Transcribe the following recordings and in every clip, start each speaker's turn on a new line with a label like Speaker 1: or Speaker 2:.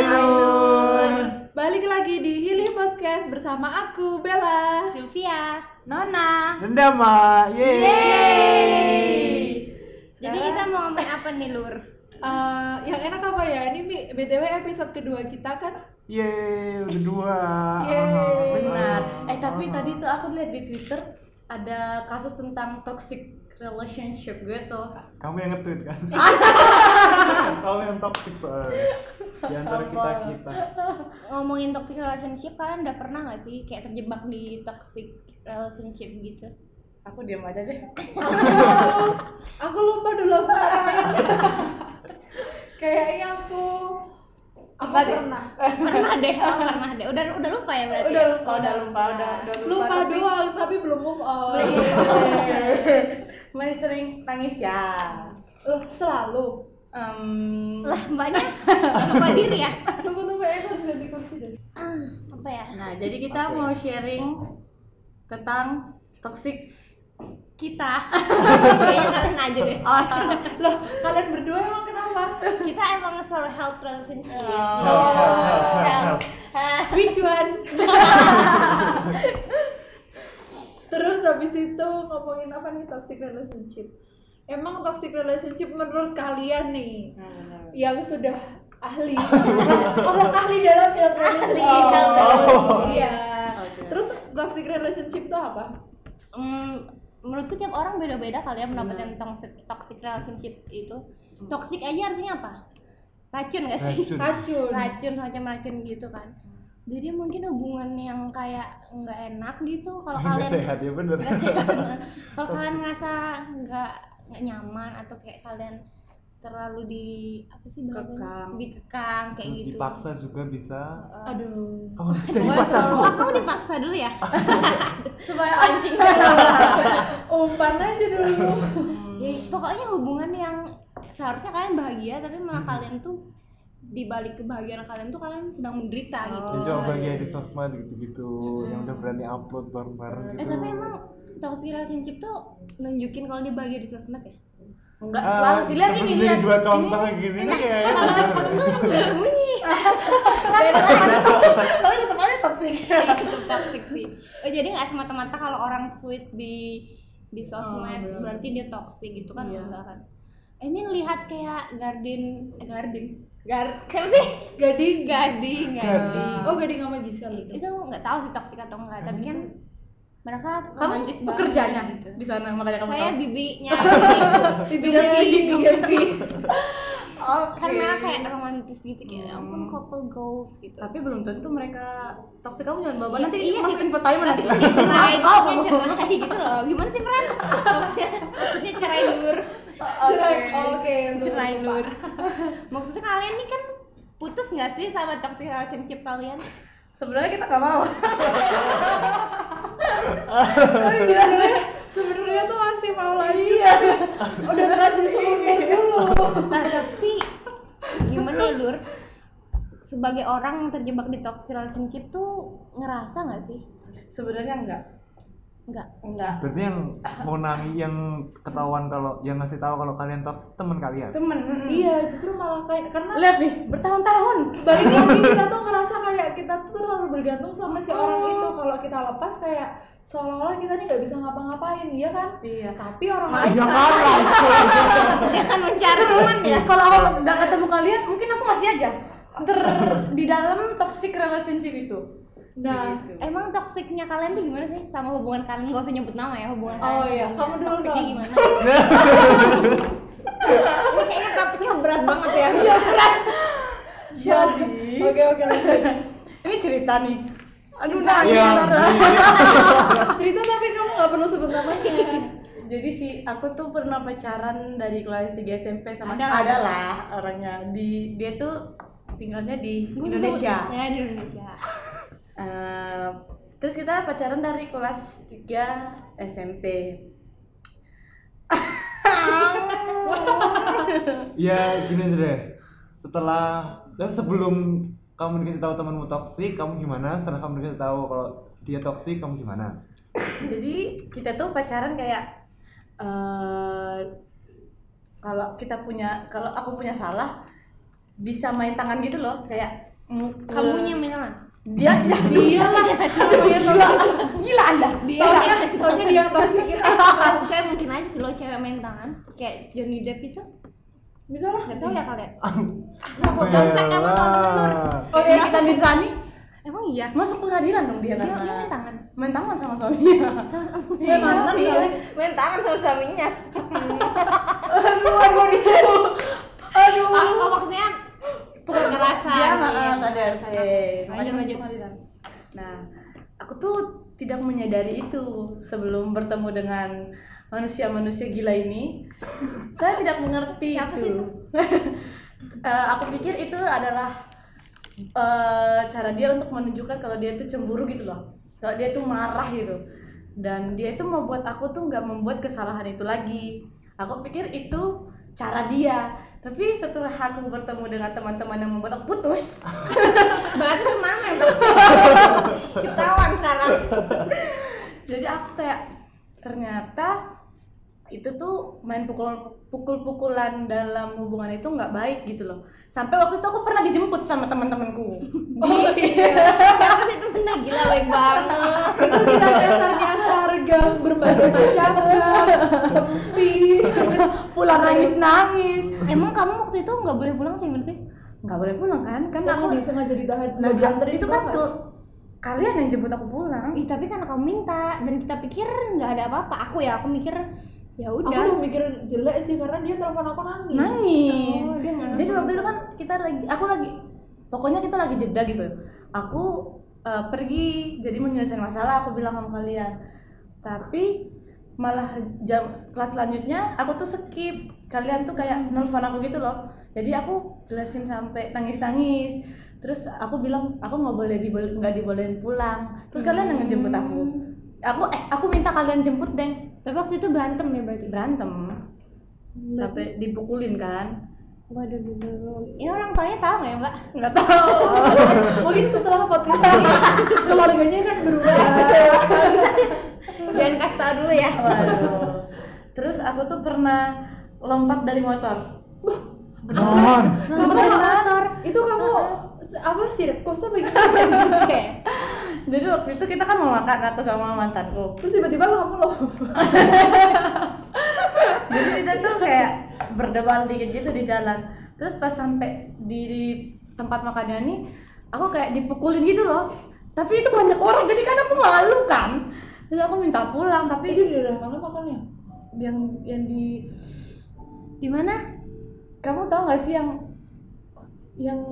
Speaker 1: Ainur.
Speaker 2: Balik lagi di Hilih Podcast bersama aku Bella, Sylvia, Nona.
Speaker 1: Dendama. Yeay.
Speaker 3: Jadi kita mau ngomongin apa nih Lur?
Speaker 2: Eh, yang enak apa ya? Ini Mi, BTW episode kedua kita kan?
Speaker 1: Yeay, berdua.
Speaker 2: Yeay.
Speaker 3: Benar.
Speaker 1: Ah.
Speaker 3: Eh tapi tadi tuh aku lihat di Twitter ada kasus tentang toxic relationship gitu.
Speaker 1: kamu yang nge-tweet kan? kamu yang toxic soalnya. Di antara kita kita.
Speaker 3: Ngomongin toxic relationship kalian udah pernah gak sih kayak terjebak di toxic relationship gitu?
Speaker 4: aku diam aja deh
Speaker 2: Aku lupa dulu aku ngapain. Kayaknya aku aku
Speaker 4: Tadi.
Speaker 2: pernah
Speaker 3: Pernah deh, oh, pernah deh. Udah udah lupa ya berarti.
Speaker 4: udah lupa udah lupa udah, udah
Speaker 2: lupa doang tapi belum move on.
Speaker 4: masih sering tangis ya
Speaker 2: Loh, selalu.
Speaker 4: Em,
Speaker 3: Lah banyak lupa diri ya.
Speaker 2: Tunggu tunggu eh harus ganti kursi deh.
Speaker 3: Ah, apa ya?
Speaker 4: nah jadi kita
Speaker 1: Oke.
Speaker 4: mau sharing tentang toxic
Speaker 3: Kita. Kayaknya kalian aja deh.
Speaker 2: Loh, kalian berdua emang kenapa?
Speaker 3: Kita emang selalu health relationship.
Speaker 4: Oh.
Speaker 1: Help, help, help, help, help.
Speaker 3: Hah.
Speaker 2: Which one? Terus habis itu ngomongin apa nih toxic relationship? Emang toxic relationship menurut kalian nih
Speaker 1: Iya.
Speaker 2: yang sudah ahli orang Oh, ahli dalam yang ahli
Speaker 1: Oh.
Speaker 2: iya
Speaker 4: Oke.
Speaker 2: terus toxic relationship itu apa
Speaker 3: Hmm, menurutku tiap orang beda-beda kali ya mendapatkan
Speaker 1: Iya.
Speaker 3: toxic, toxic relationship itu. Toxic aja artinya apa? Racun gak sih?
Speaker 1: Racun.
Speaker 2: racun
Speaker 3: Racun, macam racun gitu kan. Jadi mungkin hubungan yang kayak nggak enak gitu kalau
Speaker 1: Nggak
Speaker 3: kalian
Speaker 1: sehat ya bener.
Speaker 3: nggak sehat. kalau kalian ngerasa nggak nggak nyaman atau kayak kalian terlalu di apa sih bahasanya?
Speaker 4: Kekang.
Speaker 3: dikekang kayak
Speaker 1: Terus
Speaker 3: gitu.
Speaker 1: Dipaksa juga bisa.
Speaker 2: aduh
Speaker 1: Kamu jadi
Speaker 3: Wah,
Speaker 1: pacarku.
Speaker 3: oh, kamu dipaksa dulu ya?
Speaker 2: supaya
Speaker 3: Anjing.
Speaker 2: umpan aja dulu
Speaker 4: Hmm.
Speaker 3: Ya, pokoknya hubungan yang seharusnya kalian bahagia tapi malah kalian tuh di balik kebahagiaan kalian tuh kalian sedang menderita gitu.
Speaker 1: Mencoba bahagia di sosmed gitu-gitu yang udah berani upload bareng-bareng gitu.
Speaker 3: Eh tapi emang toxic relationship tuh nunjukin kalau dia bahagia di sosmed ya?
Speaker 4: enggak
Speaker 1: Ah,
Speaker 4: selalu sih lihat
Speaker 1: terus
Speaker 4: ini
Speaker 1: jadi
Speaker 4: lihat
Speaker 1: dua contoh kayak gini nih ya.
Speaker 3: Kalau aku nggak Iya, bunyi. Beda lagi.
Speaker 4: tapi tetap aja toxic
Speaker 3: Itu toxic sih. Oh, jadi nggak semata-mata kalau orang sweet di di sosmed
Speaker 4: benar.
Speaker 3: berarti dia toxic gitu kan
Speaker 4: Iya.
Speaker 3: enggak kan? I mean lihat kayak garden eh, garden gar kan sih gading gading gading
Speaker 2: oh gading sama Gisel itu
Speaker 3: itu nggak tahu sih toksik atau enggak tapi kan mereka
Speaker 4: Hmm. kamu
Speaker 3: romantis banget
Speaker 4: pekerjanya
Speaker 3: gitu.
Speaker 4: di sana makanya kamu
Speaker 3: saya
Speaker 4: tahu Iya,
Speaker 3: bibinya
Speaker 2: bibinya gading gading
Speaker 3: oh karena kayak romantis gitu kayak ampun couple goals gitu
Speaker 4: Hmm. tapi belum tentu mereka toxic kamu jangan bawa
Speaker 3: Iya,
Speaker 4: nanti
Speaker 3: iya.
Speaker 4: masuk infotainment nanti
Speaker 3: Kayak cerai,
Speaker 4: Maaf, maaf,
Speaker 3: kayak
Speaker 4: maaf.
Speaker 3: cerai gitu loh gimana sih Fran? maksudnya, maksudnya cerai lur
Speaker 2: cerai oke
Speaker 3: cerai lur maksudnya kalian nih kan putus nggak sih sama toxic relationship kalian?
Speaker 4: sebenarnya kita nggak mau
Speaker 2: sebenarnya sebenarnya tuh masih mau lanjut Iya. udah terlanjur seumur dulu
Speaker 3: Nah, tapi gimana ya, Lur? Sebagai orang yang terjebak di toxic relationship tuh ngerasa nggak sih?
Speaker 4: sebenarnya enggak
Speaker 3: Enggak.
Speaker 4: enggak
Speaker 1: Berarti yang mau nangis yang ketahuan kalau yang ngasih tahu kalau kalian toxic teman kalian.
Speaker 4: temen mm-mm.
Speaker 2: iya justru malah kayak karena
Speaker 4: lihat nih bertahun-tahun
Speaker 2: balik lagi kita tuh ngerasa kayak kita tuh terlalu bergantung sama si orang itu kalau kita lepas kayak seolah-olah kita nih nggak bisa ngapa-ngapain iya kan
Speaker 4: iya
Speaker 2: tapi orang
Speaker 4: Nah,
Speaker 2: lain
Speaker 1: Ya kan langsung.
Speaker 3: Dia kan mencari teman ya.
Speaker 4: kalau aku nggak ketemu kalian mungkin aku masih aja ter- di dalam toxic relationship itu
Speaker 2: nah
Speaker 4: Gitu.
Speaker 3: Emang toksiknya kalian tuh gimana sih sama hubungan kalian? Gak usah nyebut nama ya hubungan
Speaker 2: Oh,
Speaker 3: kalian.
Speaker 2: iya. Kamu dulu
Speaker 3: Toksiknya
Speaker 2: dong.
Speaker 3: gimana? Ini kayaknya topiknya berat banget ya.
Speaker 2: Iya.
Speaker 4: jadi
Speaker 2: oke oke lanjut
Speaker 4: ini cerita nih aduh nangis
Speaker 1: Iya.
Speaker 4: Lara.
Speaker 2: cerita tapi kamu nggak perlu sebut namanya
Speaker 4: jadi sih aku tuh pernah pacaran dari kelas 3 SMP sama
Speaker 3: Ada lah.
Speaker 4: lah orangnya di dia tuh tinggalnya di
Speaker 3: Gua
Speaker 4: Indonesia
Speaker 3: sebut- Ya, di Indonesia.
Speaker 4: Eh, terus kita pacaran dari kelas 3 SMP.
Speaker 1: Ya gini aja deh. Setelah eh, sebelum kamu dikasih tahu temanmu toxic, kamu gimana? Setelah kamu dikasih tahu kalau dia toxic, kamu gimana?
Speaker 4: Jadi kita tuh pacaran kayak eh kalau kita punya kalau aku punya salah bisa main tangan gitu loh kayak
Speaker 5: Kamunya misalnya.
Speaker 4: dia ya dia lah dia toxic. gila anda dia
Speaker 2: Taunya, taunya dia yang toxic itu
Speaker 5: Kalau Iya. cewek mungkin aja lo cewek main tangan kayak Johnny Depp itu
Speaker 2: Bisa lah
Speaker 5: nggak tahu ya kalian
Speaker 1: Apa
Speaker 5: kontak emang kontak Nur?
Speaker 4: oh iya kita Mirzani
Speaker 5: emang iya
Speaker 4: masuk pengadilan dong dia
Speaker 5: dia, dia main
Speaker 4: karena
Speaker 5: tangan
Speaker 4: main tangan sama suaminya
Speaker 2: Dia mantan
Speaker 4: Iya.
Speaker 2: kali
Speaker 3: main tangan sama suaminya
Speaker 4: aduh aduh aduh aduh
Speaker 5: oh, oh, maksudnya
Speaker 3: bukan
Speaker 4: dia
Speaker 3: ngerasain
Speaker 4: nggak ada
Speaker 5: lanjut lanjut
Speaker 4: Nah, aku tuh tidak menyadari itu sebelum bertemu dengan manusia-manusia gila ini. saya tidak mengerti
Speaker 5: Siapa
Speaker 4: itu.
Speaker 5: sih itu?
Speaker 4: Eh, aku pikir itu adalah eh, cara dia untuk menunjukkan kalau dia itu cemburu gitu loh. Kalau dia itu marah gitu. Dan dia itu membuat aku tuh nggak membuat kesalahan itu lagi. Aku pikir itu cara dia. Tapi setelah aku bertemu dengan teman-teman yang membuat aku putus,
Speaker 3: berarti teman yang toksik ketahuan sekarang
Speaker 4: jadi aku kayak ternyata itu tuh main pukul pukul-pukulan dalam hubungan itu nggak baik gitu loh sampai waktu itu aku pernah dijemput sama teman-temanku di
Speaker 3: Oh, iya.
Speaker 5: siapa sih temennya gila baik banget
Speaker 2: Itu kita dasarnya sargam berbagai macam gam sempit
Speaker 4: pulang nangis nangis
Speaker 5: emang kamu waktu itu nggak boleh pulang tuh gimana sih
Speaker 4: nggak boleh pulang kan kan
Speaker 2: Kamu
Speaker 4: aku
Speaker 2: disengaja ditahan
Speaker 4: nah,
Speaker 2: buat dianterin
Speaker 4: itu kan
Speaker 2: tau nggak
Speaker 4: tuh kalian yang jemput aku pulang
Speaker 5: Ih, tapi karena kamu minta dan kita pikir nggak ada apa-apa aku ya aku mikir ya
Speaker 2: Aku
Speaker 5: udah
Speaker 3: Kan?
Speaker 2: udah mikir jelek sih karena dia telepon aku
Speaker 3: Iya,
Speaker 2: nangis.
Speaker 4: nangis
Speaker 5: Oh, dia nggak
Speaker 4: jadi
Speaker 5: ngerti.
Speaker 4: waktu itu kan kita lagi aku lagi pokoknya kita lagi jeda gitu aku eh, pergi jadi menyelesaikan masalah aku bilang sama kalian tapi malah jam kelas selanjutnya aku tuh skip kalian tuh kayak nelfon aku gitu loh jadi aku jelasin sampai nangis nangis terus aku bilang aku nggak boleh dibol- nggak dibolehin pulang terus kalian yang ngejemput aku aku eh aku minta kalian jemput deng
Speaker 5: tapi waktu itu berantem ya berarti
Speaker 4: berantem sampai dipukulin kan
Speaker 5: waduh dulu ini orang tuanya tahu nggak ya mbak
Speaker 4: nggak tahu
Speaker 2: Mungkin setelah podcast ini keluarganya kan berubah.
Speaker 3: jangan kasih tau dulu ya
Speaker 4: Waduh. Terus aku tuh pernah lompat dari motor.
Speaker 1: Non.
Speaker 2: Kamu
Speaker 4: Lompat dari motor.
Speaker 2: itu kamu se- apa sirkus apa gitu?
Speaker 4: Jadi waktu itu kita kan mau makan aku sama mantanku.
Speaker 2: Terus tiba-tiba kamu loh.
Speaker 4: Jadi kita tuh kayak berdebat dikit gitu di jalan. Terus pas sampai di, di tempat makannya nih, aku kayak dipukulin gitu loh. Tapi itu banyak orang, jadi kan aku malu kan. Terus aku minta pulang,
Speaker 2: Tapi itu
Speaker 4: tapi
Speaker 2: di daerah mana makannya?
Speaker 4: yang yang di
Speaker 5: di mana
Speaker 4: kamu tahu nggak sih yang yang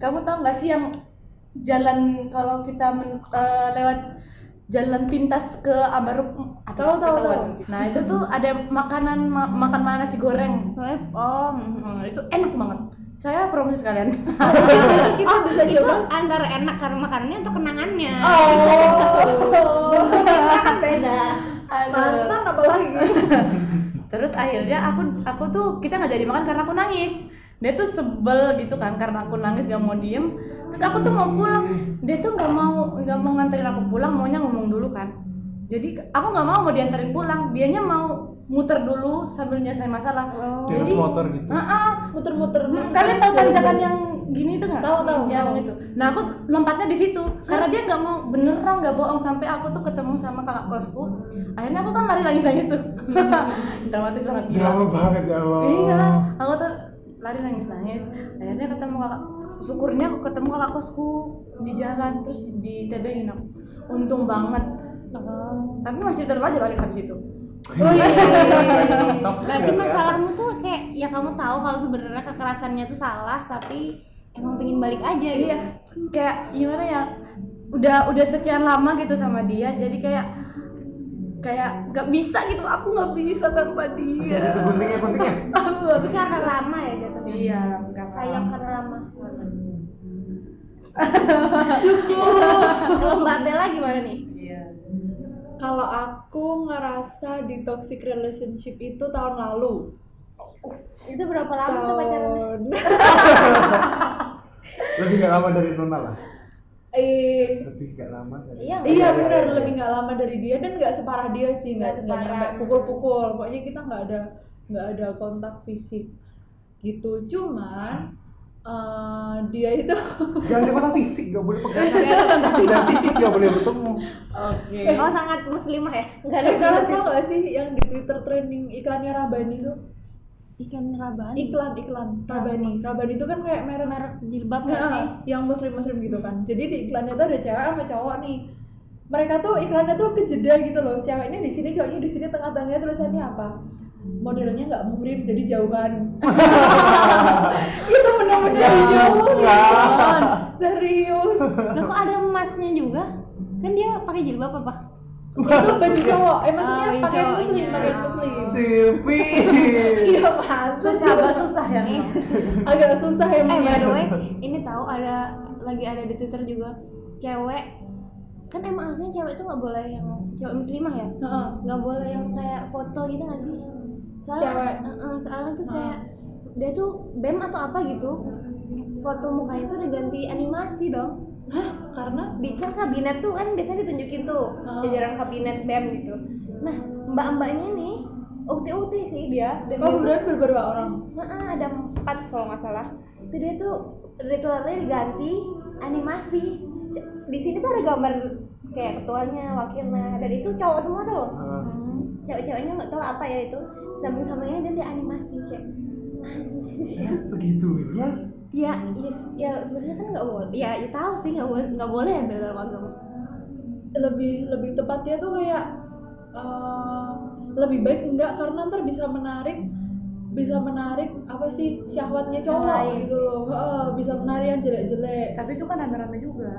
Speaker 4: kamu tahu nggak sih yang jalan kalau kita men- eh, lewat jalan pintas ke Ambaruk
Speaker 2: Tahu, tahu,
Speaker 4: ketahuan. nah itu tuh ada makanan ma- makanan nasi goreng
Speaker 5: oh
Speaker 4: Hmm, itu enak banget saya promosi sekalian
Speaker 2: Masa kita bisa
Speaker 5: itu
Speaker 2: coba?
Speaker 5: antara enak karena makanannya atau kenangannya
Speaker 2: Oh,
Speaker 3: kan beda
Speaker 2: mantan apalagi.
Speaker 4: terus akhirnya aku aku tuh kita nggak jadi makan karena aku nangis dia tuh sebel gitu kan karena aku nangis gak mau diem terus aku tuh mau pulang dia tuh nggak mau nggak mau nganterin aku pulang maunya ngomong dulu kan jadi aku nggak mau mau dianterin pulang dianya mau muter dulu sambil nyelesain masalah
Speaker 1: Di atas
Speaker 4: jadi
Speaker 1: motor gitu.
Speaker 4: Ah, ah.
Speaker 2: Muter-muter.
Speaker 4: Hmm, kalian tahu tanjakan yang gini tuh nggak
Speaker 2: Tahu, tahu,
Speaker 4: yang
Speaker 2: tahu.
Speaker 4: itu nah aku lompatnya di situ karena dia nggak mau beneran nggak bohong sampai aku tuh ketemu sama kakak kosku akhirnya aku kan lari nangis nangis tuh
Speaker 2: Hmm.
Speaker 4: dramatis banget
Speaker 2: Iya.
Speaker 4: gila.
Speaker 1: Drama banget ya Allah.
Speaker 4: Iya, aku tuh lari nangis-nangis. Akhirnya ketemu kakak, syukurnya aku ketemu kakak kosku di jalan terus ditebengin aku. Untung banget.
Speaker 2: Oh.
Speaker 4: Tapi masih tetap aja balik habis itu.
Speaker 2: iya,
Speaker 1: Toxic
Speaker 5: berarti
Speaker 1: ya, Kak?
Speaker 5: masalahmu tuh kayak ya kamu tahu kalau sebenarnya kekerasannya tuh salah tapi emang pengen balik aja gitu
Speaker 4: Iya, kayak gimana ya? Udah udah sekian lama gitu sama dia, jadi kayak kayak nggak bisa gitu aku nggak bisa tanpa
Speaker 1: Oke, itu
Speaker 4: dia
Speaker 1: guntingnya guntingnya.
Speaker 5: tapi karena lama ya jatuhnya
Speaker 4: iya kakak.
Speaker 5: sayang karena lama
Speaker 2: Cukup.
Speaker 5: kalau mbak Bella gimana nih
Speaker 2: Kalau aku ngerasa di toxic relationship itu tahun lalu.
Speaker 5: itu berapa lama tuh pacarannya
Speaker 2: Tahun
Speaker 1: Lebih nggak lama dari Nona lah.
Speaker 2: eh
Speaker 1: Lebih nggak lama dari.
Speaker 5: iya nggak?
Speaker 2: Iya benar lebih nggak lama dari dia dan nggak separah dia sih
Speaker 5: Nggak
Speaker 2: nggak nggak
Speaker 5: separah.
Speaker 2: nyampe pukul-pukul pokoknya kita nggak ada nggak ada kontak fisik gitu cuman eh, dia itu
Speaker 1: jangan dipakai fisik gak boleh pegangan
Speaker 3: Iya.
Speaker 5: Enggak,
Speaker 1: dan fisik gak boleh bertemu
Speaker 4: Oke.
Speaker 5: enggak. Kau Oh, sangat muslimah ya?
Speaker 3: Enggak ada
Speaker 2: eh kalian tau gak sih yang di Twitter trending iklannya Rabani tuh
Speaker 5: Ikan rabani.
Speaker 2: iklan iklan Rabani Rabani itu kan kayak merek
Speaker 5: merek jilbab
Speaker 2: Nah,
Speaker 5: kan?
Speaker 2: yang muslim-muslim gitu kan. Jadi di iklannya tuh ada cewek sama cowok nih. Mereka tuh iklannya tuh kejeda gitu loh. Ceweknya di sini, cowoknya di sini, tengah-tengahnya tulisannya apa? Modelnya nggak murid, jadi jauhan. itu benar-benar dijauhin.
Speaker 1: Jauhan.
Speaker 2: Serius.
Speaker 5: Nah, kok ada emasnya juga? Kan dia pakai jilbab apa?
Speaker 2: itu baju cowok. Eh maksudnya
Speaker 5: Oh, iya,
Speaker 2: pakai muslim,
Speaker 5: cowoknya.
Speaker 2: pakai muslim.
Speaker 1: Silvi
Speaker 2: Iya masuk.
Speaker 4: Susah agak susah ya. memang.
Speaker 2: Agak susah ya,
Speaker 5: Eh,
Speaker 2: emang.
Speaker 5: by the way, ini tahu ada lagi ada di Twitter juga cewek kan emang aslinya cewek tuh nggak boleh yang cewek muslimah ya
Speaker 2: Heeh.
Speaker 5: nggak boleh yang kayak foto gitu nggak sih soalnya
Speaker 2: Cewek.
Speaker 5: Heeh, soalnya tuh
Speaker 2: Heeh.
Speaker 5: kayak dia tuh bem atau apa gitu foto mukanya tuh diganti animasi dong
Speaker 2: Karena
Speaker 5: di kan kabinet tuh kan biasanya ditunjukin tuh
Speaker 2: Oh.
Speaker 5: jajaran kabinet bem gitu nah mbak mbaknya nih ukti ukti sih dia dan
Speaker 2: oh
Speaker 5: dia tuh-
Speaker 2: berarti beberapa orang.
Speaker 5: Heeh, ada empat kalau nggak salah itu dia tuh retailernya diganti animasi C- di sini tuh ada gambar kayak ketuanya wakilnya dan itu cowok semua tuh loh cewek-ceweknya nggak tahu apa ya itu sambung-sambungnya dan dia animasi kayak
Speaker 1: Eh, segitunya
Speaker 5: ya ya, ya sebenarnya kan nggak boleh ya, ya tahu sih nggak boleh nggak boleh ya dalam agama
Speaker 2: lebih lebih tepatnya tuh kayak eh, lebih baik enggak karena ntar bisa menarik bisa menarik apa sih syahwatnya cowok
Speaker 4: lain.
Speaker 2: gitu loh Heeh, bisa menarik yang jelek-jelek
Speaker 4: Tapi itu kan rame-rame juga.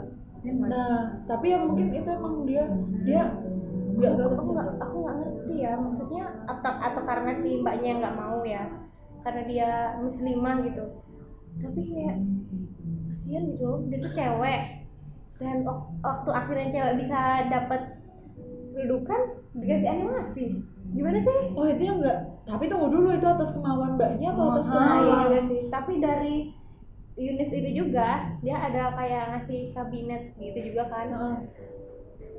Speaker 4: Ya, Mas? Hmm.
Speaker 2: nah tapi yang mungkin itu emang dia dia nggak
Speaker 5: aku
Speaker 2: kelihatan
Speaker 5: aku nggak aku nggak ngerti ya maksudnya
Speaker 3: atau atau karena si mbaknya yang nggak mau ya karena dia muslimah gitu tapi kayak kasihan gitu loh, dia tuh cewek dan wak- waktu akhirnya cewek bisa dapat kedudukan diganti animasi gimana sih
Speaker 2: oh itu yang nggak tapi tunggu dulu itu atas kemauan mbaknya atau atas
Speaker 4: Ah,
Speaker 3: Nah, iya
Speaker 2: kemauan
Speaker 3: juga sih. tapi dari Yunus itu juga dia ada kayak ngasih kabinet gitu juga kan
Speaker 2: Heeh.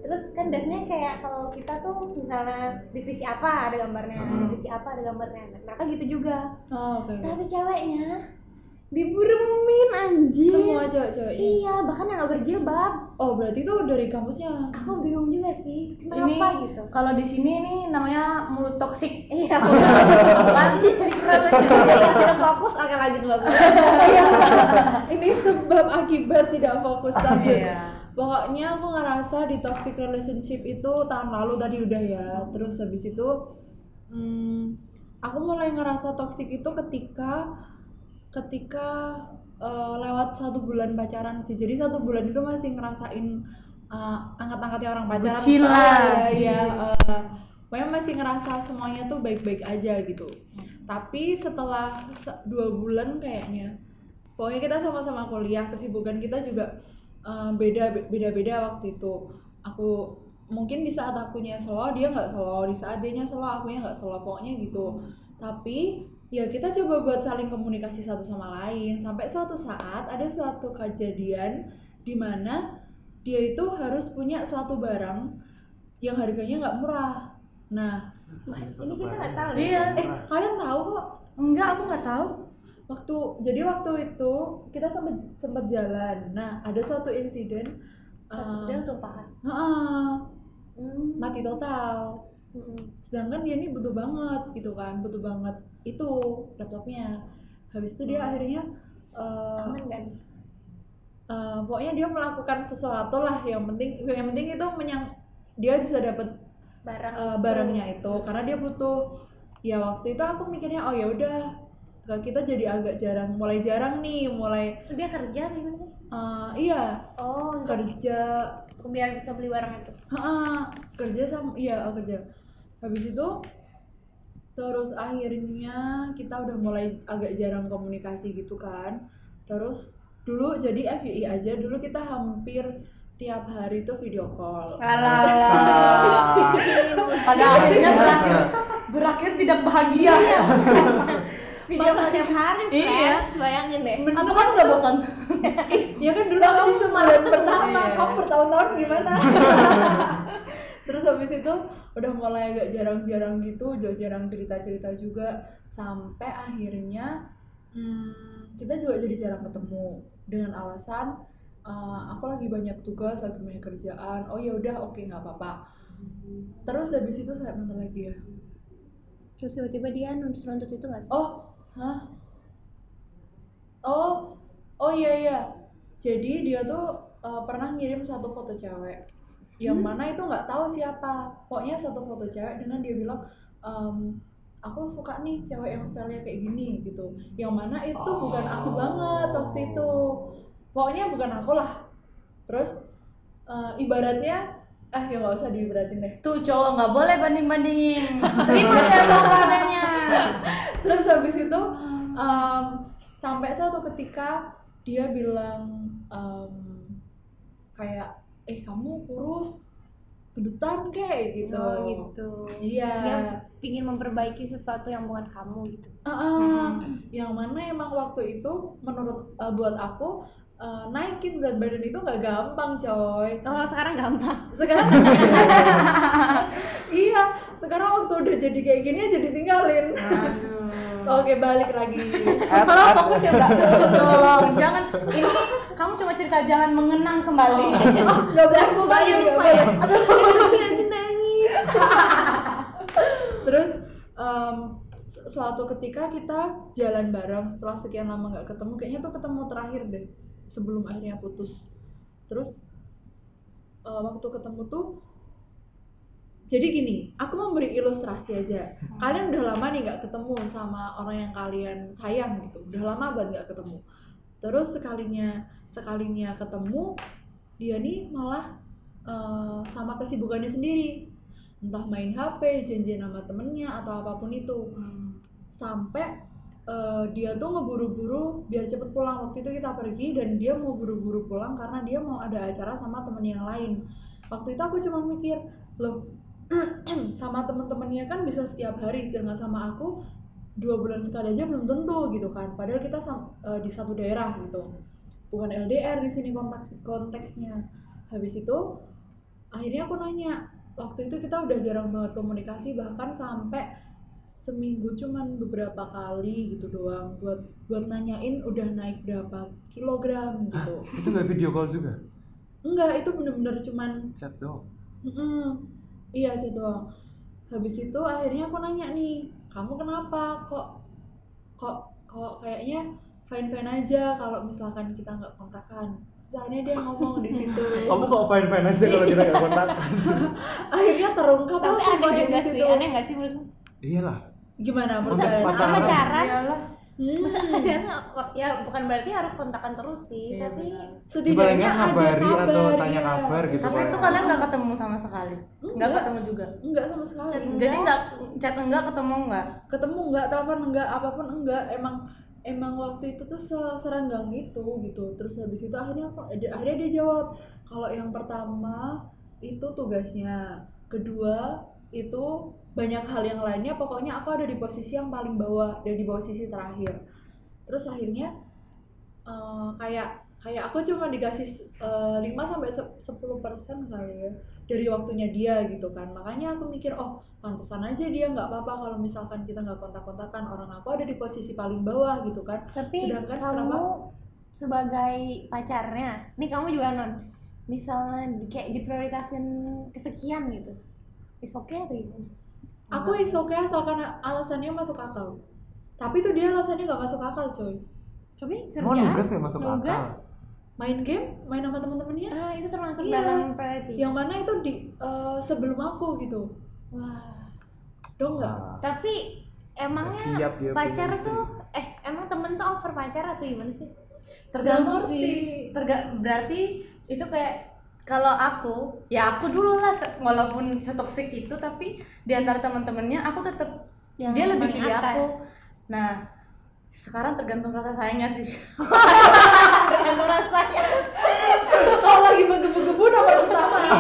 Speaker 3: terus kan biasanya kayak kalau kita tuh misalnya divisi apa ada gambarnya
Speaker 1: Hmm.
Speaker 3: divisi apa ada gambarnya Nah, mereka gitu juga
Speaker 2: Oh, oke
Speaker 3: tapi ceweknya diburemin anjir
Speaker 2: semua cewek-ceweknya
Speaker 3: iya bahkan yang gak berjilbab
Speaker 2: oh berarti itu dari kampusnya
Speaker 3: aku bingung juga sih kenapa
Speaker 4: Ini
Speaker 3: gitu
Speaker 4: kalau di sini nih namanya mulut toksik.
Speaker 3: iya lagi tidak fokus oke lanjut Iya. bagus
Speaker 2: ini sebab akibat tidak fokus lanjut
Speaker 4: Iya.
Speaker 2: Pokoknya aku ngerasa di toxic relationship itu tahun lalu tadi udah ya. Terus habis itu hmm, aku mulai ngerasa toxic itu ketika ketika eh, lewat satu bulan pacaran sih. Jadi satu bulan itu masih ngerasain eh, angkat-angkatnya orang pacaran.
Speaker 4: Bucin lah.
Speaker 2: Ah, Iya, iya. Pokoknya masih ngerasa semuanya tuh baik-baik aja gitu. Tapi setelah se- dua bulan kayaknya, pokoknya kita sama-sama kuliah, kesibukan kita juga eh, beda beda beda waktu itu. Aku mungkin di saat akunya slow dia nggak slow, di saat dia slow akunya nggak slow, pokoknya gitu. Tapi ya kita coba buat saling komunikasi satu sama lain sampai suatu saat ada suatu kejadian di mana dia itu harus punya suatu barang yang harganya nggak murah. Nah,
Speaker 3: ini kita nggak tahu ya.
Speaker 4: Iya.
Speaker 2: eh kalian tahu kok
Speaker 4: Enggak, aku nggak tahu.
Speaker 2: waktu jadi waktu itu kita sempet sempet jalan. Nah, ada suatu insiden
Speaker 3: dia
Speaker 2: eh,
Speaker 3: tuh paha
Speaker 2: heeh,
Speaker 3: Hmm.
Speaker 2: mati total.
Speaker 3: Mm-mm.
Speaker 2: Sedangkan dia ini butuh banget gitu kan, butuh banget itu laptopnya. Habis itu dia akhirnya eh,
Speaker 3: aman kan
Speaker 2: eh, pokoknya dia melakukan sesuatu lah yang penting yang penting itu menyang dia bisa dapat
Speaker 3: barang
Speaker 2: eh, barangnya itu karena dia butuh ya waktu itu aku mikirnya oh ya udah kita jadi agak jarang mulai jarang nih mulai
Speaker 3: dia kerja apa gimana sih
Speaker 2: eh, iya
Speaker 3: oh untuk
Speaker 2: kerja
Speaker 3: untuk biar bisa beli barang itu
Speaker 2: Heeh, kerja sama iya oh, kerja habis itu terus akhirnya kita udah mulai agak jarang komunikasi gitu kan terus dulu jadi FYI aja dulu kita hampir tiap hari tuh video call
Speaker 1: Nah.
Speaker 3: Nah,
Speaker 1: Iya,
Speaker 4: Pada akhirnya berakhir berakhir tidak bahagia.
Speaker 3: video call tiap hari
Speaker 4: Iya.
Speaker 3: friends bayangin deh
Speaker 4: Aku kan nggak bosan.
Speaker 2: ya kan dulu kamu sebulan pertama
Speaker 4: Iya.
Speaker 2: kamu bertahun-tahun gimana terus habis itu udah mulai agak jarang-jarang gitu jauh jarang cerita-cerita juga sampai akhirnya hmm, kita juga jadi jarang ketemu dengan alasan eh, aku lagi banyak tugas lagi banyak kerjaan oh ya udah oke nggak apa-apa terus habis itu saya mana lagi ya
Speaker 3: terus tiba-tiba dia nuntut-nuntut itu nggak sih
Speaker 2: oh hah oh oh iya iya jadi dia tuh eh, pernah ngirim satu foto cewek yang mana itu nggak tahu siapa pokoknya satu foto cewek dengan dia bilang "Em, aku suka nih cewek yang stylenya kayak gini gitu yang mana itu bukan aku banget waktu itu pokoknya bukan aku lah terus eh, ibaratnya ah ya nggak usah diibaratin deh
Speaker 4: Tuh cowok nggak boleh banding bandingin. Terima saja adanya.
Speaker 2: terus habis itu em, sampai suatu ketika dia bilang em, kayak eh kamu kurus gendutan kayak gitu
Speaker 3: oh gitu
Speaker 2: iya
Speaker 3: dia pingin memperbaiki sesuatu yang bukan kamu gitu
Speaker 2: Ah, ah. yang mana emang waktu itu menurut eh, buat aku eh, naikin berat badan itu nggak gampang coy
Speaker 3: kalau sekarang gampang
Speaker 2: Oh, sekarang iya sekarang waktu udah jadi kayak gini jadi tinggalin oke balik lagi
Speaker 1: iya.
Speaker 4: Tolong fokus ya mbak. Tolong jangan. Ini kamu cuma cerita jangan mengenang kembali.
Speaker 2: nggak boleh buka
Speaker 4: Bayar lupa ya. Aduh, aku lagi nangis.
Speaker 2: terus em, su- suatu ketika kita jalan bareng setelah sekian lama nggak ketemu kayaknya tuh ketemu terakhir deh sebelum akhirnya putus terus eh, waktu ketemu tuh jadi gini aku memberi ilustrasi aja kalian udah lama nih nggak ketemu sama orang yang kalian sayang gitu udah lama banget nggak ketemu terus sekalinya sekalinya ketemu dia nih malah eh, sama kesibukannya sendiri entah main HP, janjian sama temennya atau apapun itu sampai eh, dia tuh ngeburu-buru biar cepet pulang waktu itu kita pergi dan dia mau buru-buru pulang karena dia mau ada acara sama temen yang lain waktu itu aku cuma mikir loh sama temen-temennya kan bisa setiap hari sedangkan sama aku dua bulan sekali aja belum tentu gitu kan padahal kita sam- eh, di satu daerah gitu bukan LDR di sini konteks konteksnya habis itu akhirnya aku nanya waktu itu kita udah jarang banget komunikasi bahkan sampai seminggu cuman beberapa kali gitu doang buat buat nanyain udah naik berapa kilogram gitu
Speaker 1: itu nggak video call juga
Speaker 2: enggak itu bener-bener cuman
Speaker 1: chat doang
Speaker 2: Mm-mm. Iya aja doang. Habis itu akhirnya aku nanya nih, kamu kenapa kok kok kok kayaknya fine fine aja kalau misalkan kita nggak kontakan. Soalnya dia ngomong di situ.
Speaker 1: kamu kok fine fine aja kalau kita nggak kontakan
Speaker 2: akhirnya terungkap lah
Speaker 3: tapi aneh
Speaker 2: semuanya di
Speaker 3: juga sih
Speaker 2: situ.
Speaker 3: aneh nggak sih menurutmu
Speaker 1: iyalah
Speaker 2: Gimana menurut
Speaker 1: Masa
Speaker 2: kalian?
Speaker 1: pacaran?
Speaker 3: Pacaran.
Speaker 4: Iyalah.
Speaker 2: Hmm,
Speaker 3: ya bukan berarti harus kontakan terus sih
Speaker 4: Iya,
Speaker 3: tapi
Speaker 4: benar.
Speaker 1: Palingan
Speaker 2: Setidaknya ada
Speaker 1: ngabari
Speaker 2: kabar
Speaker 1: atau tanya
Speaker 2: iya.
Speaker 1: kabar gitu,
Speaker 4: Tapi itu kalian nggak ketemu sama sekali. Nggak
Speaker 2: Enggak.
Speaker 4: ketemu juga.
Speaker 2: Iya. Enggak sama sekali.
Speaker 4: Jadi nggak chat enggak ketemu enggak.
Speaker 2: ketemu nggak telepon nggak apapun enggak emang emang waktu itu tuh se- serenggang itu gitu terus habis itu akhirnya aku- dia- akhirnya dia jawab kalau yang pertama itu tugasnya kedua itu banyak hal yang lainnya pokoknya aku ada di posisi yang paling bawah dan di posisi terakhir terus akhirnya eh, kayak kayak aku cuma dikasih eh, 5 sampai 10 persen kali ya dari waktunya dia gitu kan makanya aku mikir oh pantesan aja dia nggak apa-apa kalau misalkan kita nggak kontak-kontakan orang aku ada di posisi paling bawah gitu kan
Speaker 3: tapi
Speaker 2: Sedangkan
Speaker 3: kamu
Speaker 2: kenapa?
Speaker 3: sebagai pacarnya nih kamu juga non misalnya di- kayak diprioritasin kesekian gitu is okay atau gimana
Speaker 2: aku is okay asalkan alasannya masuk akal tapi itu dia alasannya nggak masuk akal coy
Speaker 3: tapi
Speaker 1: mau
Speaker 3: kerjaan
Speaker 1: nugas nggak masuk akal
Speaker 3: nugas.
Speaker 2: main game main sama temen-temennya
Speaker 3: ah, itu termasuk
Speaker 2: Iya.
Speaker 3: dalam priority
Speaker 2: yang mana itu di eh, sebelum aku gitu
Speaker 3: wah
Speaker 2: dong nggak
Speaker 1: Nah,
Speaker 3: tapi emangnya
Speaker 1: Siap dia punya
Speaker 3: pacar
Speaker 1: istri.
Speaker 3: tuh eh emang temen tuh over pacar atau gimana sih
Speaker 4: tergantung
Speaker 2: Nggak ngerti.
Speaker 4: sih terga berarti itu kayak kalau aku ya aku dulu lah se- walaupun setoksik itu tapi di antara teman-temannya aku tetap
Speaker 3: Yang
Speaker 4: dia lebih
Speaker 3: paling
Speaker 4: pilih
Speaker 3: atas.
Speaker 4: aku nah sekarang tergantung rasa sayangnya sih tergantung ya. rasanya
Speaker 2: kalau lagi menggebu-gebu nomor pertama ya.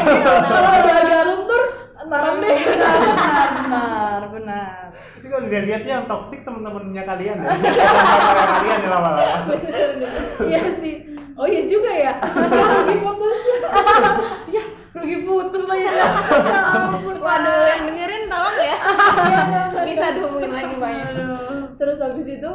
Speaker 2: kalau udah agak luntur enam deh
Speaker 4: benar benar
Speaker 1: tapi kalau dilihat-lihatnya yang toksik teman-temannya kalian ya Teman-teman kalian ya lama-lama
Speaker 2: iya sih oh iya juga ya kalau lagi putus
Speaker 4: ya rugi putus lah ya Ya ampun,
Speaker 3: waduh yang dengerin tolong ya
Speaker 2: Iya, nggak, nggak,
Speaker 3: bisa dihubungin lagi banyak
Speaker 2: terus habis itu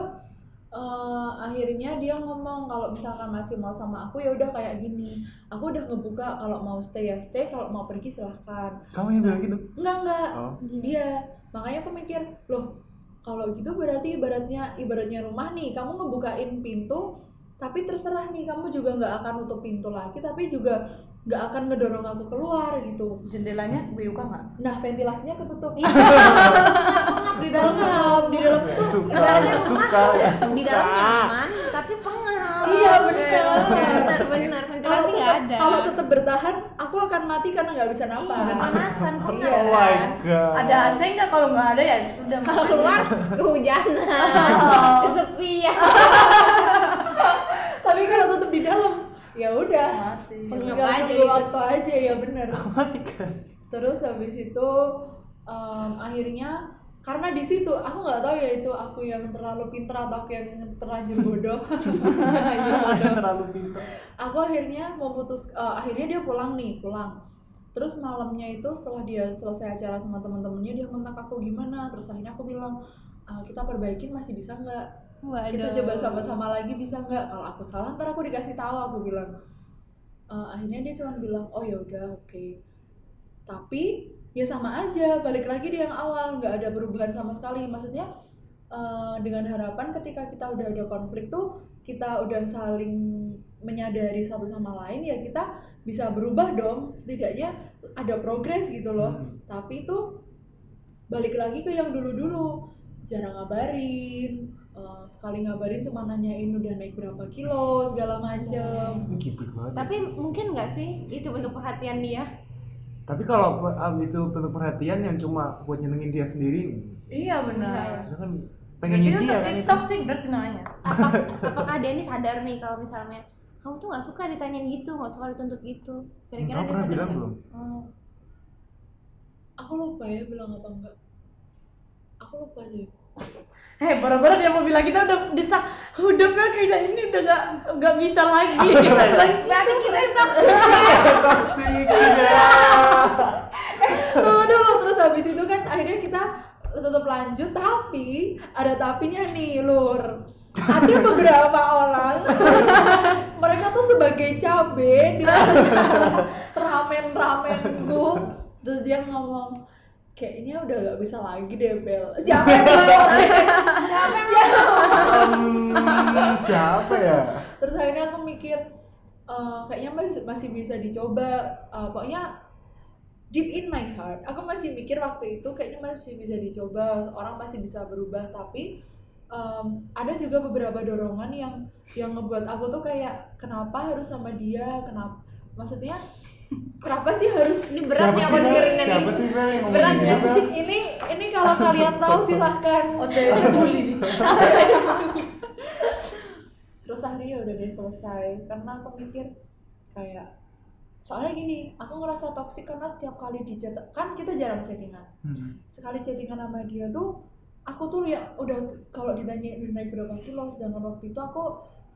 Speaker 2: eh, akhirnya dia ngomong kalau misalkan masih mau sama aku ya udah kayak gini aku udah ngebuka kalau mau stay ya stay kalau mau pergi silahkan
Speaker 1: Kamu yang bilang gitu?
Speaker 2: enggak enggak
Speaker 1: Oh.
Speaker 2: dia makanya aku mikir loh kalau gitu berarti ibaratnya ibaratnya rumah nih kamu ngebukain pintu tapi terserah nih kamu juga nggak akan nutup pintu lagi tapi juga nggak akan ngedorong aku keluar gitu
Speaker 4: jendelanya BUK nggak?
Speaker 2: nah ventilasinya ketutup
Speaker 3: di
Speaker 2: Pengap, di dalam
Speaker 1: Ya,
Speaker 2: tuh
Speaker 1: suka,
Speaker 3: Ibaratnya
Speaker 1: ya,
Speaker 3: rumah
Speaker 1: suka, ya, suka.
Speaker 3: di dalam nyaman tapi pengap
Speaker 2: Iya, bener.
Speaker 3: benar benar
Speaker 2: kalau
Speaker 3: ventilasi nggak
Speaker 2: tetap
Speaker 3: ada Iya,
Speaker 2: kalau tetap bertahan aku akan mati karena nggak bisa napas
Speaker 3: pemanasan kok nggak
Speaker 1: Oh my
Speaker 3: Kan?
Speaker 1: god.
Speaker 4: Ada AC nggak? Kalau nggak ada ya udah
Speaker 3: kalau
Speaker 4: makan.
Speaker 3: keluar kehujanan kesepian
Speaker 2: tapi kalau tetap di dalam ya udah
Speaker 4: Mati.
Speaker 3: Pengap
Speaker 2: Tinggal
Speaker 3: aja
Speaker 2: nunggu
Speaker 3: gitu.
Speaker 2: waktu aja ya bener
Speaker 1: Oh my god.
Speaker 2: terus habis itu em, akhirnya karena di situ aku nggak tahu ya itu aku yang terlalu pinter atau aku yang terlanjur bodoh
Speaker 1: Ada terlalu pintar.
Speaker 2: aku akhirnya memutus eh, akhirnya dia pulang nih pulang terus malamnya itu setelah dia selesai acara sama teman-temannya dia kontak aku gimana terus akhirnya aku bilang "Eh, kita perbaikin masih bisa nggak kita coba sama-sama lagi bisa nggak kalau aku salah ntar aku dikasih tahu aku bilang Eh, akhirnya dia cuma bilang oh ya udah oke tapi ya sama aja balik lagi di yang awal nggak ada perubahan sama sekali maksudnya eh, dengan harapan ketika kita udah ada konflik tuh kita udah saling menyadari satu sama lain ya kita bisa berubah dong setidaknya ada progres gitu loh tapi itu balik lagi ke yang dulu-dulu jarang ngabarin eh, sekali ngabarin cuma nanyain udah naik berapa kilo segala macem
Speaker 1: Ini gibih banget. ya.
Speaker 3: tapi mungkin nggak sih itu bentuk perhatian dia
Speaker 1: Tapi kalau um, itu bentuk perhatian yang cuma buat nyenengin dia sendiri,
Speaker 4: Iya benar.
Speaker 1: dia kan
Speaker 4: Berarti
Speaker 1: pengennya
Speaker 4: itu
Speaker 1: dia kan itu.
Speaker 4: toxic berarti namanya.
Speaker 3: Apa, apakah dia ini sadar nih kalau misalnya kamu tuh nggak suka ditanyain gitu nggak suka dituntut gitu
Speaker 1: Kamu
Speaker 3: dia
Speaker 1: pernah
Speaker 3: sadar
Speaker 1: bilang
Speaker 3: nggak?
Speaker 1: belum?
Speaker 3: Hmm.
Speaker 2: aku lupa ya bilang apa enggak aku lupa sih
Speaker 4: Hei, Eh, baru-baru dia mau bilang kita udah desak, udah Bel, kayaknya ini udah gak, gak bisa lagi.
Speaker 1: Iya.
Speaker 4: Nanti kita
Speaker 3: Iya,
Speaker 1: Toxic tidak.
Speaker 2: Tunggu dulu terus habis itu kan akhirnya kita tetap lanjut tapi ada tapinya nih lur ada beberapa orang mereka tuh sebagai cabe di antara ramen-ramenku terus dia ngomong kayaknya udah gak bisa lagi deh Bel siapa yang ngomong? siapa yang ngomong?
Speaker 1: Hmm, siapa ya?
Speaker 2: terus akhirnya aku mikir eh, kayaknya masih masih bisa dicoba Eh, pokoknya deep in my heart aku masih mikir waktu itu kayaknya masih bisa dicoba orang masih bisa berubah tapi em, ada juga beberapa dorongan yang yang ngebuat aku tuh kayak kenapa harus sama dia kenapa maksudnya kenapa sih harus
Speaker 3: ini berat nih aku
Speaker 1: sih, Bel?
Speaker 3: dengerin ini
Speaker 1: Siapa sih Bel yang ngomong
Speaker 3: Berat ya.
Speaker 1: gitu,
Speaker 3: nggak
Speaker 1: Bel?
Speaker 2: ini ini kalau kalian tahu silahkan terus akhirnya udah deh selesai karena aku mikir kayak soalnya gini aku ngerasa toksik karena setiap kali di chat kan kita jarang chattingan
Speaker 1: Hmm.
Speaker 2: sekali chattingan sama dia tuh aku tuh ya udah kalau ditanya udah naik berapa kilo sedangkan waktu itu aku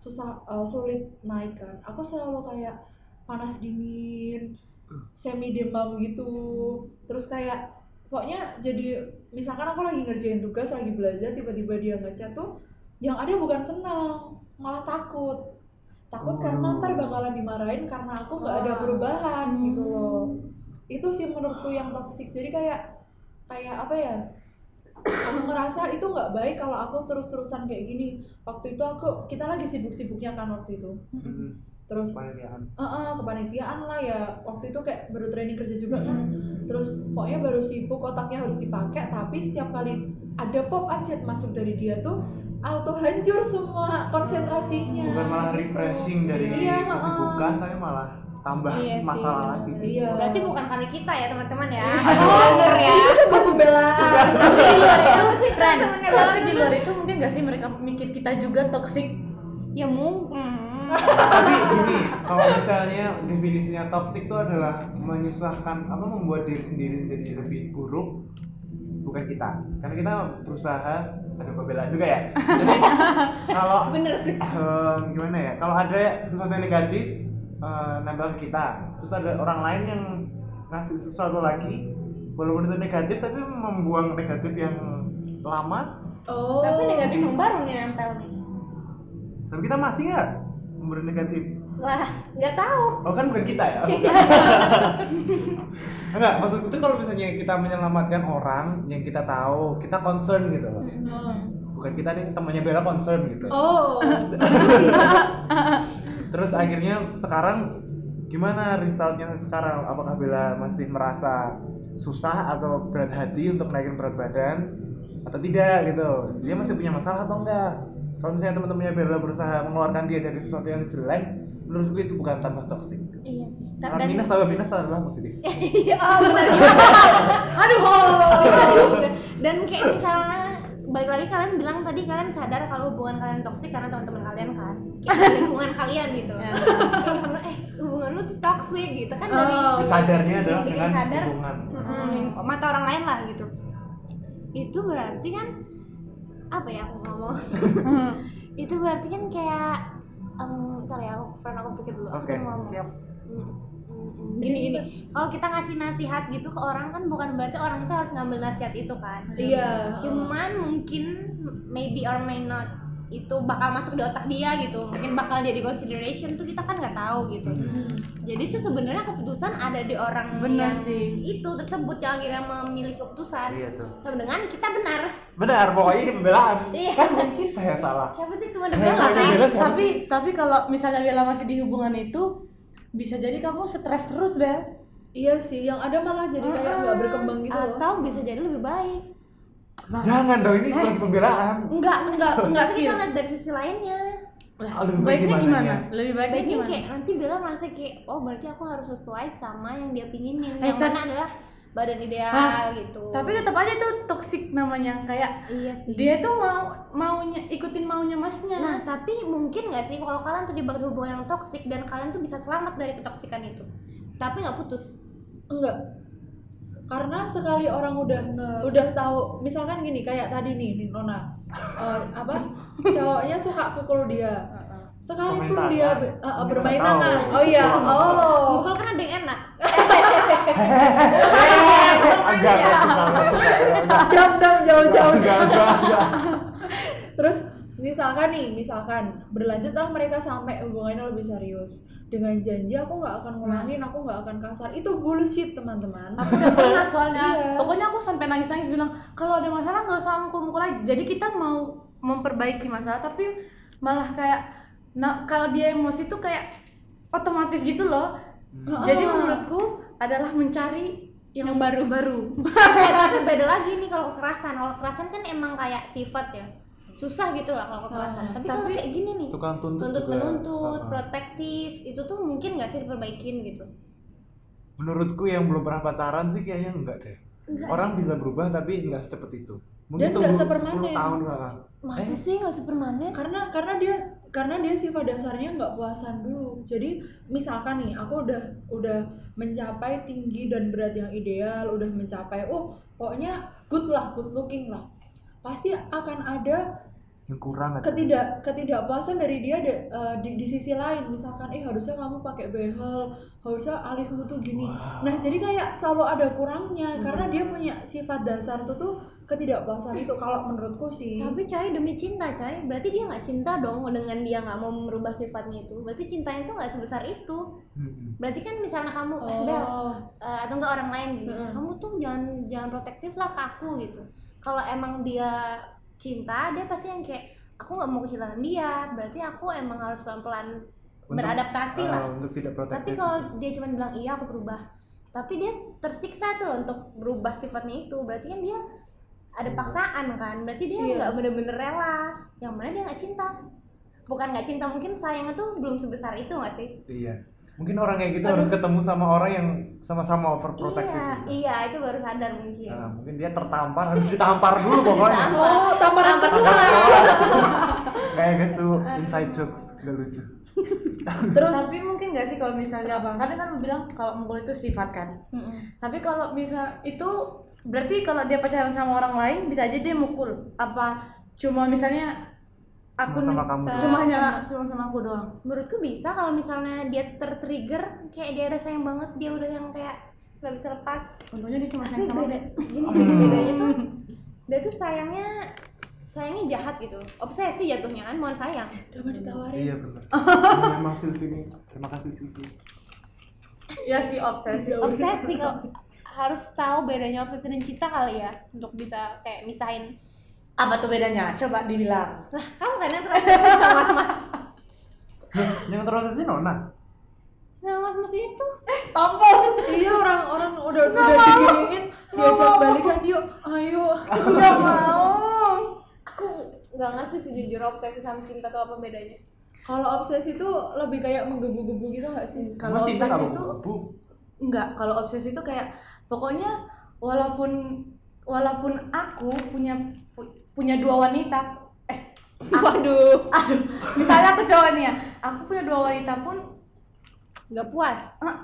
Speaker 2: susah eh, sulit naik kan aku selalu kayak panas dingin semi demam gitu terus kayak pokoknya jadi misalkan aku lagi ngerjain tugas lagi belajar tiba-tiba dia ngechat tuh yang ada bukan senang malah takut takut karena ntar bakalan dimarahin karena aku nggak ada perubahan gitu loh itu sih menurutku yang toksik jadi kayak kayak apa ya aku ngerasa itu nggak baik kalau aku terus-terusan kayak gini waktu itu aku kita lagi sibuk-sibuknya kan waktu itu
Speaker 1: Hmm,
Speaker 2: terus
Speaker 1: kepanitiaan.
Speaker 2: eh, eh, kepanitiaan lah ya waktu itu kayak baru training kerja juga kan
Speaker 1: Hmm.
Speaker 2: terus pokoknya baru sibuk kotaknya harus dipakai tapi setiap kali ada pop up chat masuk dari dia tuh auto hancur semua konsentrasinya
Speaker 1: Bukan malah
Speaker 2: gitu.
Speaker 1: refreshing dari
Speaker 2: Iya, heeh.
Speaker 1: kesibukan, tapi malah tambah
Speaker 3: Iya sih,
Speaker 1: masalah lagi.
Speaker 2: iya
Speaker 3: berarti bukan kali kita ya teman-teman ya
Speaker 2: Oh,
Speaker 3: denger ya
Speaker 2: itu pembelaan
Speaker 4: di luar itu,
Speaker 3: Friend.
Speaker 4: tapi di luar itu mungkin gak sih mereka mikir kita juga toxic?
Speaker 3: ya mungkin
Speaker 1: tapi gini kalau misalnya definisinya toxic itu adalah menyusahkan apa membuat diri sendiri jadi lebih buruk bukan kita karena kita berusaha ada pembelaan juga ya jadi kalau
Speaker 3: Bener sih.
Speaker 1: em, gimana ya kalau ada sesuatu yang negatif eh, nempel ke kita terus ada orang lain yang ngasih sesuatu lagi walaupun itu negatif tapi membuang negatif yang lama
Speaker 2: oh
Speaker 3: Oh. tapi negatif yang baru nih nempel nih
Speaker 1: tapi kita masih nggak memberi negatif
Speaker 3: lah nggak tahu
Speaker 1: oh kan bukan kita ya Bukan. enggak maksudku tuh kalau misalnya kita menyelamatkan orang yang kita tahu kita concern gitu loh bukan kita nih temannya Bella concern gitu
Speaker 2: Oh,
Speaker 1: terus akhirnya sekarang gimana resultnya sekarang apakah Bella masih merasa susah atau berat hati untuk naikin berat badan atau tidak gitu dia masih punya masalah atau enggak kalau misalnya teman-temannya Bella berusaha mengeluarkan dia dari sesuatu yang jelek menurutku itu bukan tambah toksik
Speaker 3: iya sih tapi
Speaker 1: karena
Speaker 3: dan
Speaker 1: minus tambah minus adalah positif
Speaker 3: oh benar
Speaker 2: aduh.
Speaker 3: dan kayak misalnya balik lagi kalian bilang tadi kalian sadar kalau hubungan kalian toksik karena teman-teman kalian kan kayak dari lingkungan kalian gitu
Speaker 4: Ya.
Speaker 3: Kayak karena eh hubungan lu tuh toksik gitu kan dari
Speaker 2: Oh.
Speaker 1: sadarnya
Speaker 3: bikin-
Speaker 1: adalah
Speaker 3: bikin
Speaker 1: dengan
Speaker 3: sadar
Speaker 1: hubungan
Speaker 3: Mm, ling- mata orang lain lah gitu itu berarti kan apa ya aku ngomong itu berarti kan kayak em ntar ya aku pernah aku pikir dulu aku
Speaker 1: oke
Speaker 3: mau ngomong
Speaker 1: siap
Speaker 3: Mm, mm, mm. gini gini kalau kita ngasih nasihat gitu ke orang kan bukan berarti orang itu harus ngambil nasihat itu kan
Speaker 2: Iya.
Speaker 3: cuman mungkin maybe or may not itu bakal masuk di otak dia gitu mungkin bakal jadi consideration tuh kita kan nggak tahu gitu jadi tuh sebenarnya keputusan ada di orang
Speaker 4: bener
Speaker 3: yang
Speaker 4: sih
Speaker 3: itu tersebut yang akhirnya memilih keputusan
Speaker 1: iya tuh
Speaker 3: sama dengan kita benar
Speaker 1: benar pokoknya ini pembelaan
Speaker 3: Iya.
Speaker 4: Eh,
Speaker 1: kan bukan kita yang salah
Speaker 3: siapa sih teman
Speaker 1: Yang
Speaker 3: Bella
Speaker 1: punya
Speaker 3: kan
Speaker 1: Bella siapa sih?
Speaker 4: tapi tapi kalau misalnya Bella masih di hubungan itu bisa jadi kamu stres terus Bel
Speaker 2: Iya sih, yang ada malah jadi
Speaker 4: eh,
Speaker 2: kayak nggak berkembang gitu loh.
Speaker 3: atau bisa jadi lebih baik
Speaker 1: jangan dong ini bukan pembelaan
Speaker 4: enggak enggak enggak
Speaker 3: tapi
Speaker 4: sih
Speaker 3: kita lihat dari sisi lainnya
Speaker 4: Lah,
Speaker 1: Aduh,
Speaker 4: baiknya
Speaker 1: gimana
Speaker 4: gimana
Speaker 1: ya?
Speaker 4: lebih baiknya
Speaker 3: baiknya
Speaker 4: gimana
Speaker 3: kayak nanti Bella merasa kayak oh berarti aku harus sesuai sama yang dia pinginin
Speaker 4: Eh,
Speaker 3: yang
Speaker 4: tapi-
Speaker 3: mana adalah badan ideal
Speaker 4: Ah,
Speaker 3: gitu
Speaker 4: tapi tetap aja tuh toksik namanya kayak
Speaker 3: iya sih
Speaker 4: dia tuh mau maunya ikutin maunya masnya
Speaker 3: nah tapi mungkin nggak sih kalau kalian terjebak di hubungan yang toksik dan kalian tuh bisa selamat dari ketoksikan itu tapi nggak putus
Speaker 2: Enggak. Karena sekali orang udah udah tahu, misalkan gini kayak tadi nih, nih Nona. Eh, apa? Cowoknya suka pukul dia. Sekalipun
Speaker 1: Bermain
Speaker 2: dia
Speaker 1: tangan.
Speaker 2: be- eh, eh,
Speaker 1: Kita
Speaker 2: bermain
Speaker 1: nggak tahu.
Speaker 2: tangan. Oh iya. Oh.
Speaker 3: mukul kan ada yang enak
Speaker 1: enggak enggak suka, enggak suka, enggak, enggak.
Speaker 2: Dam dam jauh jauh.
Speaker 1: Enggak, enggak, enggak.
Speaker 2: Terus misalkan nih, misalkan berlanjutlah mereka sampai hubungannya lebih serius dengan janji aku nggak akan ngulangin, aku nggak akan kasar. Itu bullshit teman-teman.
Speaker 4: aku udah pernah soalnya
Speaker 2: Iya.
Speaker 4: pokoknya aku sampai nangis nangis bilang kalau ada masalah nggak usah mukul-mukul lagi jadi kita mau memperbaiki masalah tapi malah kayak nah kalau dia emosi tuh kayak otomatis gitu loh
Speaker 1: Hmm.
Speaker 2: Ah.
Speaker 4: jadi menurutku adalah mencari yang, baru baru
Speaker 3: Eh, tapi beda lagi nih kalau kekerasan kalau kekerasan kan emang kayak sifat ya susah gitu lah kalau kekerasan
Speaker 2: Ah,
Speaker 3: tapi, kalau
Speaker 4: tapi-
Speaker 3: kayak gini nih
Speaker 1: tukang tuntut
Speaker 3: tuntut
Speaker 1: juga.
Speaker 3: menuntut
Speaker 1: Ah.
Speaker 3: protektif itu tuh mungkin nggak sih diperbaikin gitu
Speaker 1: menurutku yang belum pernah pacaran sih kayaknya enggak deh orang bisa berubah tapi enggak secepat itu
Speaker 2: Dan
Speaker 1: mungkin tunggu
Speaker 2: enggak sepermanen.
Speaker 1: 10 tahun lah Eh?
Speaker 3: masa sih nggak supermanen
Speaker 2: karena karena dia karena dia sifat dasarnya nggak puasan dulu jadi misalkan nih aku udah udah mencapai tinggi dan berat yang ideal udah mencapai oh pokoknya good lah good looking lah pasti akan ada
Speaker 1: yang kurang atau-
Speaker 2: ketidak ketidakpuasan dari dia de- eh, di, di sisi lain misalkan eh harusnya kamu pakai behel harusnya alismu tuh gini
Speaker 1: Wow.
Speaker 2: nah jadi kayak selalu ada kurangnya
Speaker 3: Hmm.
Speaker 2: karena dia punya sifat dasar tuh tuh ketidakpuasan itu kalau menurutku sih
Speaker 3: tapi coy demi cinta coy berarti dia nggak cinta dong dengan dia nggak mau merubah sifatnya itu berarti cintanya tuh nggak sebesar itu
Speaker 1: Mm-mm.
Speaker 3: berarti kan misalnya kamu eh, Bel,
Speaker 2: oh.
Speaker 3: eh, atau enggak orang lain gitu.
Speaker 2: Mm-mm.
Speaker 3: kamu tuh jangan jangan protektif lah ke aku gitu kalau emang dia cinta dia pasti yang kayak aku nggak mau kehilangan dia berarti aku emang harus pelan pelan
Speaker 1: Untuk-
Speaker 3: beradaptasi lah
Speaker 1: Ah, untuk tidak protektif
Speaker 3: tapi
Speaker 1: gitu.
Speaker 3: kalau dia cuma bilang iya aku berubah tapi dia tersiksa tuh loh untuk berubah sifatnya itu berarti kan dia ada
Speaker 1: Iya.
Speaker 3: paksaan kan berarti dia
Speaker 2: Iya.
Speaker 3: nggak bener-bener rela yang mana dia nggak cinta bukan nggak cinta mungkin sayangnya tuh belum sebesar itu nggak sih
Speaker 1: iya mungkin orang kayak gitu harus ketemu sama orang yang sama-sama overprotective
Speaker 3: iya
Speaker 1: juga.
Speaker 3: iya itu baru sadar mungkin
Speaker 1: Nah, mungkin dia tertampar harus ditampar dulu pokoknya
Speaker 2: oh tamparan
Speaker 3: Tampar
Speaker 2: kedua.
Speaker 1: kayak gitu inside jokes gak lucu
Speaker 2: terus
Speaker 4: tapi mungkin nggak sih kalau misalnya karena kan bilang kalau mukul itu sifat kan
Speaker 3: Mm-mm.
Speaker 4: tapi kalau bisa itu berarti kalau dia pacaran sama orang lain bisa aja dia mukul apa cuma misalnya aku
Speaker 1: Cuma sama kamu doang.
Speaker 4: cuma hanya cuma sama aku doang
Speaker 3: menurutku bisa kalau misalnya dia tertrigger kayak dia udah sayang banget dia udah yang kayak nggak bisa lepas
Speaker 4: untungnya dia cuma sayang
Speaker 3: tapi
Speaker 4: sama
Speaker 3: beda
Speaker 4: aku
Speaker 3: gini
Speaker 1: Hmm.
Speaker 3: bedanya tuh dia tuh sayangnya sayangnya jahat gitu obsesi jatuhnya kan mohon sayang
Speaker 2: Coba ditawarin.
Speaker 1: Iya benar. Iya, Emang Silvi nih. Terima kasih Silvi.
Speaker 4: ya sih obsesi
Speaker 3: obsesi kalau harus tahu bedanya obsesi dan cinta kali ya untuk bisa kayak misahin
Speaker 4: apa tuh bedanya coba dibilang
Speaker 3: lah kamu kan yang terobsesi sama mas
Speaker 1: Nah, yang terobsesi Nona.
Speaker 3: sama mas mas itu
Speaker 4: tompol
Speaker 2: iya orang-orang udah udah diginiin diajak balikan yuk ayo
Speaker 4: nggak mau
Speaker 3: aku nggak ngerti sih jujur obsesi sama cinta tuh apa bedanya
Speaker 2: kalau obsesi itu lebih kayak menggebu-gebu gitu gak sih
Speaker 1: Emang
Speaker 4: kalau
Speaker 1: cinta
Speaker 4: obsesi
Speaker 1: nggak
Speaker 4: itu
Speaker 1: menggebu?
Speaker 4: enggak kalau obsesi itu kayak pokoknya walaupun walaupun aku punya pu- punya dua wanita eh aduh aduh misalnya aku cowok nih ya aku punya dua wanita pun
Speaker 3: nggak puas
Speaker 4: eh,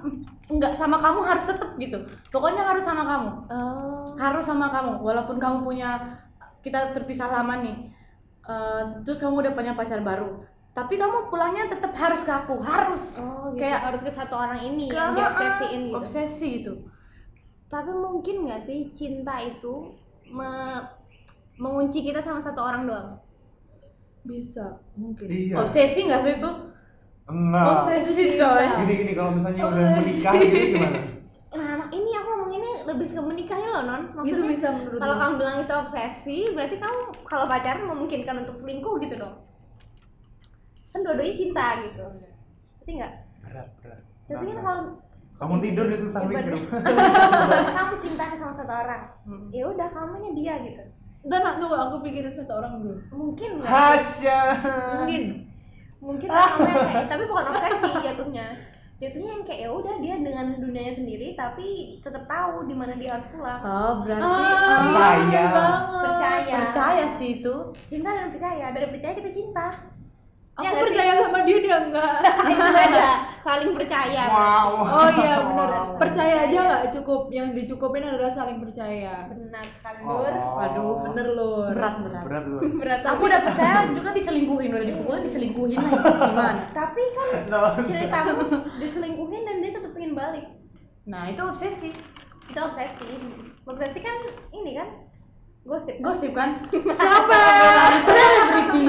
Speaker 4: enggak sama kamu harus tetep gitu pokoknya harus sama kamu
Speaker 3: oh
Speaker 2: eh,
Speaker 4: harus sama kamu walaupun kamu punya kita terpisah lama nih eh, terus kamu udah punya pacar baru tapi kamu pulangnya tetap harus ke aku harus
Speaker 3: Oh,
Speaker 2: Iya.
Speaker 3: gitu.
Speaker 4: Kayak-
Speaker 3: kayak harus ke satu orang ini
Speaker 4: Ke-
Speaker 3: yang diobsesiin gitu.
Speaker 4: obsesi gitu
Speaker 3: Tapi mungkin nggak sih cinta itu me- mengunci kita sama satu orang doang?
Speaker 2: bisa mungkin
Speaker 1: Iya.
Speaker 4: obsesi nggak sih itu
Speaker 1: Enggak.
Speaker 4: obsesi coy
Speaker 1: Gini gini kalau misalnya udah
Speaker 4: Obsesi.
Speaker 1: menikah gitu gimana?
Speaker 3: Nah, ini aku ngomong ini lebih ke menikahnya loh, Non.
Speaker 2: itu
Speaker 3: Maksudnya
Speaker 2: bisa menurut
Speaker 3: kalau
Speaker 2: gue.
Speaker 3: kamu bilang itu obsesi, berarti kamu kalau pacaran memungkinkan untuk selingkuh gitu dong. Kan dua-duanya cinta gitu. Berarti nggak?
Speaker 1: Berat berat.
Speaker 3: Tapi kan
Speaker 1: Berat,
Speaker 3: kalau
Speaker 1: berat. kamu tidur udah susah
Speaker 3: Iya,
Speaker 1: mikir.
Speaker 3: kalau kamu cinta sama satu orang,
Speaker 4: Hmm.
Speaker 3: ya udah kamunya dia gitu.
Speaker 2: Ntar nak tunggu aku pikirin satu orang dulu
Speaker 3: Mungkin nggak?
Speaker 1: Hasya.
Speaker 3: Ah.
Speaker 2: mungkin
Speaker 3: mungkin orangnya kayak gitu, tapi bukan obsesi jatuhnya jatuhnya yang kayak ya udah dia dengan dunianya sendiri tapi tetap tahu di mana dia harus pulang
Speaker 4: oh berarti
Speaker 2: ah
Speaker 4: eh,
Speaker 2: iya, bener
Speaker 1: Percaya.
Speaker 2: banget.
Speaker 3: percaya
Speaker 4: percaya sih itu
Speaker 3: cinta dan percaya dari percaya kita cinta Ya
Speaker 2: aku
Speaker 3: nggak sih?
Speaker 2: percaya sama dia dia enggak
Speaker 3: itu beda saling percaya
Speaker 1: Wow.
Speaker 2: oh iya benar percaya aja nggak cukup yang dicukupin adalah saling percaya
Speaker 3: benar sekali
Speaker 1: Oh.
Speaker 3: Nur
Speaker 4: Waduh,
Speaker 2: bener loh
Speaker 4: berat berat
Speaker 1: Berat lu.
Speaker 3: berat
Speaker 4: aku udah percaya juga diselingkuhin udah dipukulin diselingkuhin lagi gimana
Speaker 3: tapi kan
Speaker 1: Loh.
Speaker 3: ceritamu diselingkuhin dan dia tetap ingin balik
Speaker 4: nah itu obsesi
Speaker 3: itu obsesi obsesi kan ini kan gosip
Speaker 4: gosip kan
Speaker 2: siapa
Speaker 4: selebriti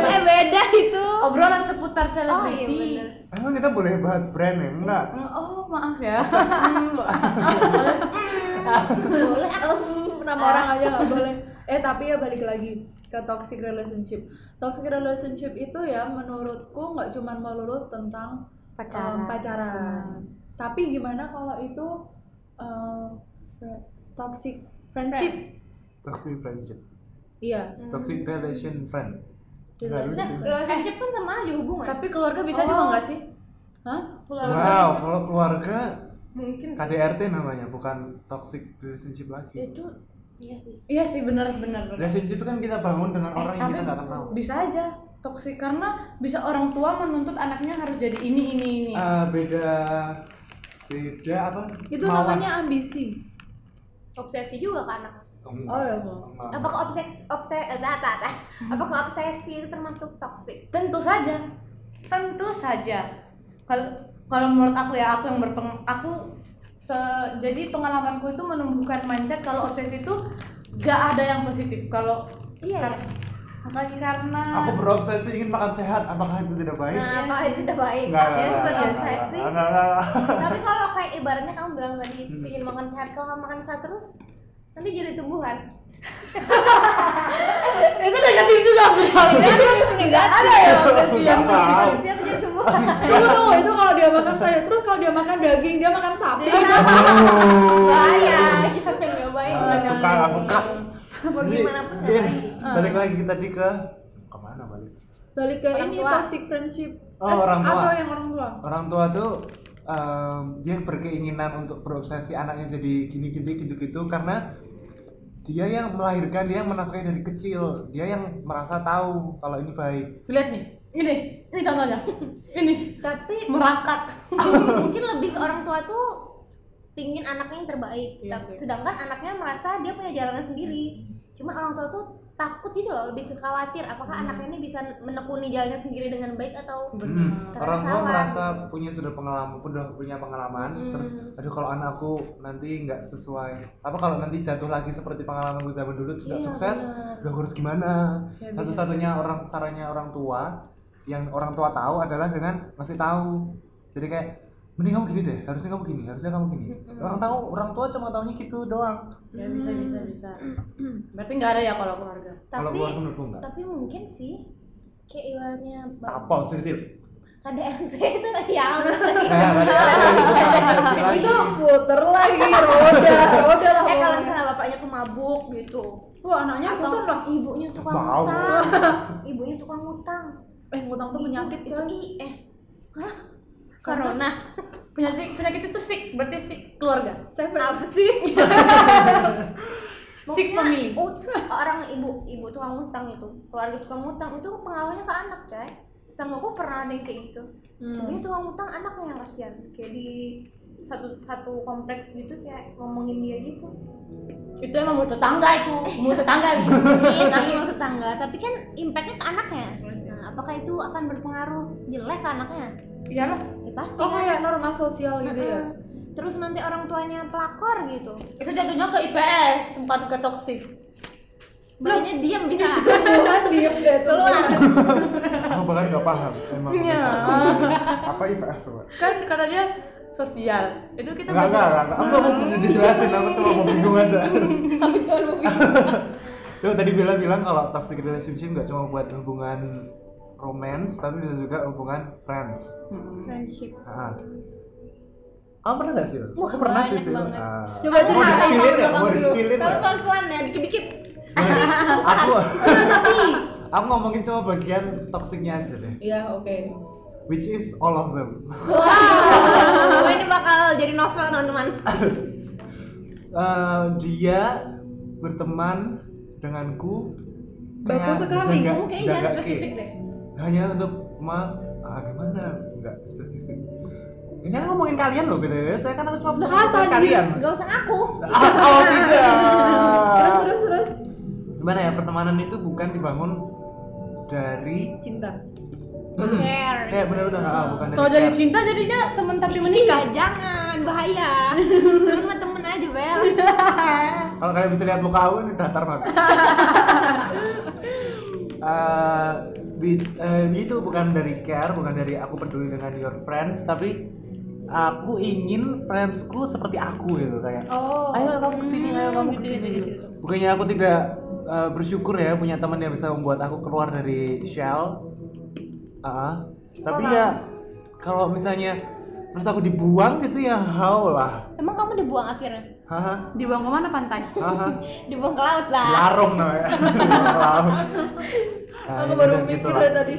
Speaker 3: eh beda itu
Speaker 4: obrolan seputar
Speaker 3: oh iya
Speaker 4: selebriti
Speaker 3: benar
Speaker 1: Emang kita boleh bahas brand ya? Enggak.
Speaker 4: Mm, oh maaf ya
Speaker 3: boleh
Speaker 2: Em, nama orang aja nggak boleh eh tapi ya balik lagi ke toxic relationship toxic relationship itu ya menurutku nggak cuman melulu tentang em, pacaran tapi gimana kalau itu em, fri- toxic friendship
Speaker 1: Toxic friendship.
Speaker 2: iya
Speaker 1: Toxic relation friend. Enggak lucu.
Speaker 3: Nah, relationship pun sama aja hubungan.
Speaker 4: tapi keluarga bisa juga
Speaker 2: Oh.
Speaker 4: nggak sih
Speaker 2: hah
Speaker 1: Wow, kalau keluarga
Speaker 2: mungkin
Speaker 1: KDRT namanya, bukan toxic relationship lagi.
Speaker 2: itu
Speaker 3: Iya sih.
Speaker 4: iya sih benar benar benar. Eh,
Speaker 1: Relationship itu kan kita bangun dengan orang yang
Speaker 4: tapi
Speaker 1: kita nggak kenal.
Speaker 4: bisa aja toksik karena bisa orang tua menuntut anaknya harus jadi ini ini ini
Speaker 1: Eh, beda beda apa?
Speaker 2: itu
Speaker 1: Mawar.
Speaker 2: namanya ambisi
Speaker 3: Obsesi juga kan. ke anak.
Speaker 1: Enggak.
Speaker 2: Oh, iya, Bang.
Speaker 1: Enggak.
Speaker 3: Apakah obsesi obsesi eh, apa Apakah obsesi itu termasuk toksik?
Speaker 4: tentu saja tentu saja kalau kalau menurut aku ya aku yang berpeng aku se- jadi pengalamanku itu menumbuhkan mindset kalau obsesi itu gak ada yang positif kalau
Speaker 3: Iya.
Speaker 4: kar- apalagi karena
Speaker 1: Aku berobsesi ingin makan sehat, apakah itu tidak baik?
Speaker 3: Nah, apa itu udah baik?
Speaker 1: Enggak,
Speaker 4: biasa,
Speaker 1: enggak, enggak,
Speaker 4: biasa
Speaker 1: enggak,
Speaker 3: sih.
Speaker 1: enggak, enggak, enggak.
Speaker 3: Tapi kalau kayak ibaratnya kamu bilang tadi
Speaker 1: Hmm.
Speaker 3: pingin makan sehat, kalau kamu makan sehat terus nanti jadi tumbuhan.
Speaker 4: itu negatif juga ada ya obsesi yang
Speaker 1: Nggak tahu.
Speaker 3: Manusia tuh jadi tumbuhan.
Speaker 2: tunggu tunggu itu kalau dia makan sayur terus kalau dia makan daging dia makan sapi
Speaker 3: Jadi apa? Bahaya, jangan nggak baik.
Speaker 1: Ah, suka,
Speaker 3: Jangan.
Speaker 1: suka.
Speaker 3: Mau
Speaker 1: Jadi,
Speaker 3: gimana pun nggak
Speaker 1: iya,
Speaker 3: baik.
Speaker 1: Balik lagi kita tadi ke kemana balik?
Speaker 2: balik ke
Speaker 3: Orang
Speaker 2: ini
Speaker 3: tua.
Speaker 2: toxic friendship
Speaker 1: Oh,
Speaker 2: Eh,
Speaker 1: orang tua.
Speaker 2: atau yang orang tua
Speaker 1: Orang tua tuh em, dia berkeinginan untuk berobsesi anaknya jadi gini-gini gitu-gitu karena dia yang melahirkan, dia yang menafkahi dari kecil, dia yang merasa tahu kalau ini baik.
Speaker 4: lihat nih ini ini contohnya ini
Speaker 3: Tapi
Speaker 4: merangkak
Speaker 3: mungkin lebih ke orang tua tuh pingin anaknya yang terbaik
Speaker 2: Iya
Speaker 3: Tapi-
Speaker 2: sih.
Speaker 1: Hmm.
Speaker 3: sedangkan anaknya merasa dia punya jalannya sendiri cuman orang tua tuh takut gitu loh lebih ke khawatir apakah anaknya ini bisa menekuni jalannya sendiri dengan baik atau
Speaker 1: Hmm,
Speaker 3: Terasa
Speaker 1: orang tua
Speaker 3: salah.
Speaker 1: merasa punya sudah pengalaman udah punya pengalaman
Speaker 3: Hmm.
Speaker 1: terus aduh kalau anakku nanti nggak sesuai apa kalau nanti jatuh lagi seperti pengalaman gue zaman dulu tidak
Speaker 3: Iya,
Speaker 1: sukses
Speaker 3: benar.
Speaker 1: udah harus gimana
Speaker 4: Ya, bisa
Speaker 1: satu-satunya orang caranya orang tua yang orang tua tahu adalah dengan ngasih tahu jadi kayak mending kamu gini deh harusnya kamu gini harusnya kamu gini orang tahu orang tua cuma tahunya gitu doang
Speaker 4: ya bisa bisa bisa berarti nggak ada ya kalau keluarga
Speaker 1: kalau
Speaker 3: tapi
Speaker 1: keluar menurutku enggak
Speaker 3: tapi mungkin sih kayak ibaratnya bang-
Speaker 1: tapol sih sih
Speaker 3: KDRT itu ya ampun.
Speaker 1: nah dari awal itu konversasi lagi.
Speaker 2: itu muter lagi roda roda lah
Speaker 3: eh kalau
Speaker 2: pokoknya.
Speaker 3: misalnya bapaknya pemabuk gitu
Speaker 2: wah anaknya
Speaker 3: atau
Speaker 2: ngutang lah
Speaker 3: ibunya tukang
Speaker 1: Wow.
Speaker 3: utang ibunya tukang utang
Speaker 2: eh ngutang tuh
Speaker 3: Itu-
Speaker 2: penyakit
Speaker 3: itu
Speaker 2: coy
Speaker 3: i eh hah corona
Speaker 4: penyakit penyakit itu sick berarti sick keluarga
Speaker 2: saya pernah
Speaker 3: apa sih
Speaker 4: sick family
Speaker 3: ut- orang ibu ibu tukang utang itu keluarga tukang utang itu pengaruhnya ke anak coy tetanggaku pernah ada yang kayak gitu
Speaker 4: Hmm.
Speaker 3: ibunya tukang utang anaknya yang kasihan kayak di satu satu kompleks gitu kayak ngomongin dia gitu
Speaker 4: itu emang mau tetangga itu mau tetangga gitu
Speaker 3: Iya, kan emang tetangga, tapi kan impactnya ke anaknya. Nah, apakah itu akan berpengaruh jelek ke anaknya?
Speaker 4: iyalah
Speaker 3: Ya pasti.
Speaker 2: oh
Speaker 3: kan.
Speaker 4: iya.
Speaker 2: kayak norma sosial gitu
Speaker 3: Heeh.
Speaker 2: ya
Speaker 3: Terus nanti orang tuanya pelakor gitu.
Speaker 4: itu jatuhnya ke IPS bukan ke toksik
Speaker 3: Bapaknya diam bisa.
Speaker 2: Tuhan diem deh tuh
Speaker 3: Keluar.
Speaker 1: aku bahkan nggak paham emang
Speaker 4: Iya.
Speaker 1: apa IPS coba
Speaker 4: kan kata dia sosial itu kita
Speaker 1: Enggak, enggak, enggak. Aku nggak mau dijelasin, aku cuma mau bingung aja.
Speaker 3: Habis baru
Speaker 1: Tuh tadi Bella bilang kalau toxic relationship nggak cuma buat hubungan romance, tapi bisa juga hubungan friends.
Speaker 3: Hmm. friendship.
Speaker 1: Ah. Kamu pernah nggak sih? Bel?
Speaker 3: Wah,
Speaker 1: Aku pernah sih
Speaker 3: banyak
Speaker 1: sih.
Speaker 3: banget.
Speaker 1: Ah.
Speaker 2: Coba aja
Speaker 1: Mau
Speaker 2: nggak tahu
Speaker 1: di-spill-in ya?
Speaker 3: Kamu
Speaker 1: Mau
Speaker 3: dulu.
Speaker 1: di-spill-in
Speaker 3: Kamu
Speaker 1: ya?
Speaker 3: pelan-pelan ya, dikit-dikit.
Speaker 1: Nah, Aku Aku ngomongin cuma bagian toksiknya aja deh
Speaker 2: iya oke
Speaker 1: Which is all of them
Speaker 3: Wah, ini bakal jadi novel teman-teman.
Speaker 1: Eh, Dia berteman denganku
Speaker 2: Bagus
Speaker 1: kayak
Speaker 2: sekali.
Speaker 1: jaga-
Speaker 3: Kamu kayaknya jangan
Speaker 1: jaga ke.
Speaker 3: spesifik deh.
Speaker 1: hanya untuk ma ah, gimana nggak spesifik ini kan ngomongin kalian loh btw saya kan aku cuma
Speaker 3: Nah,
Speaker 2: Bahas
Speaker 1: ngomongin
Speaker 2: anjir.
Speaker 1: kalian
Speaker 3: Gak usah aku.
Speaker 1: Ah, oh tidak
Speaker 2: terus terus terus
Speaker 1: gimana ya pertemanan itu bukan dibangun dari
Speaker 2: cinta
Speaker 3: Care.
Speaker 1: kayak benar-benar ah, bukan dari
Speaker 4: kalau dari
Speaker 1: care.
Speaker 4: cinta jadinya temen tapi menikah
Speaker 3: Iya, Jangan, bahaya. Temen temen aja, Bel.
Speaker 1: Kalau kalian bisa lihat muka aku ini datar banget. Eh, di- eh, itu bukan dari care, bukan dari aku peduli dengan your friends, tapi aku ingin friendsku seperti aku gitu kayak.
Speaker 2: oh
Speaker 1: Ayo kamu kesini, ayo kamu
Speaker 4: Hmm,
Speaker 1: kesini.
Speaker 4: gitu,
Speaker 1: Bukannya aku tidak eh, bersyukur ya punya teman yang bisa membuat aku keluar dari shell. Ah, tapi ya kalau misalnya terus aku dibuang gitu ya how lah.
Speaker 3: Emang kamu dibuang akhirnya?
Speaker 1: Haha.
Speaker 4: dibuang kemana pantai
Speaker 1: Haha.
Speaker 3: Dibuang ke laut lah.
Speaker 1: larung namanya larung Nah,
Speaker 2: aku
Speaker 1: ya
Speaker 2: baru
Speaker 1: udah,
Speaker 2: mikir
Speaker 1: gitulah.
Speaker 2: deh tadi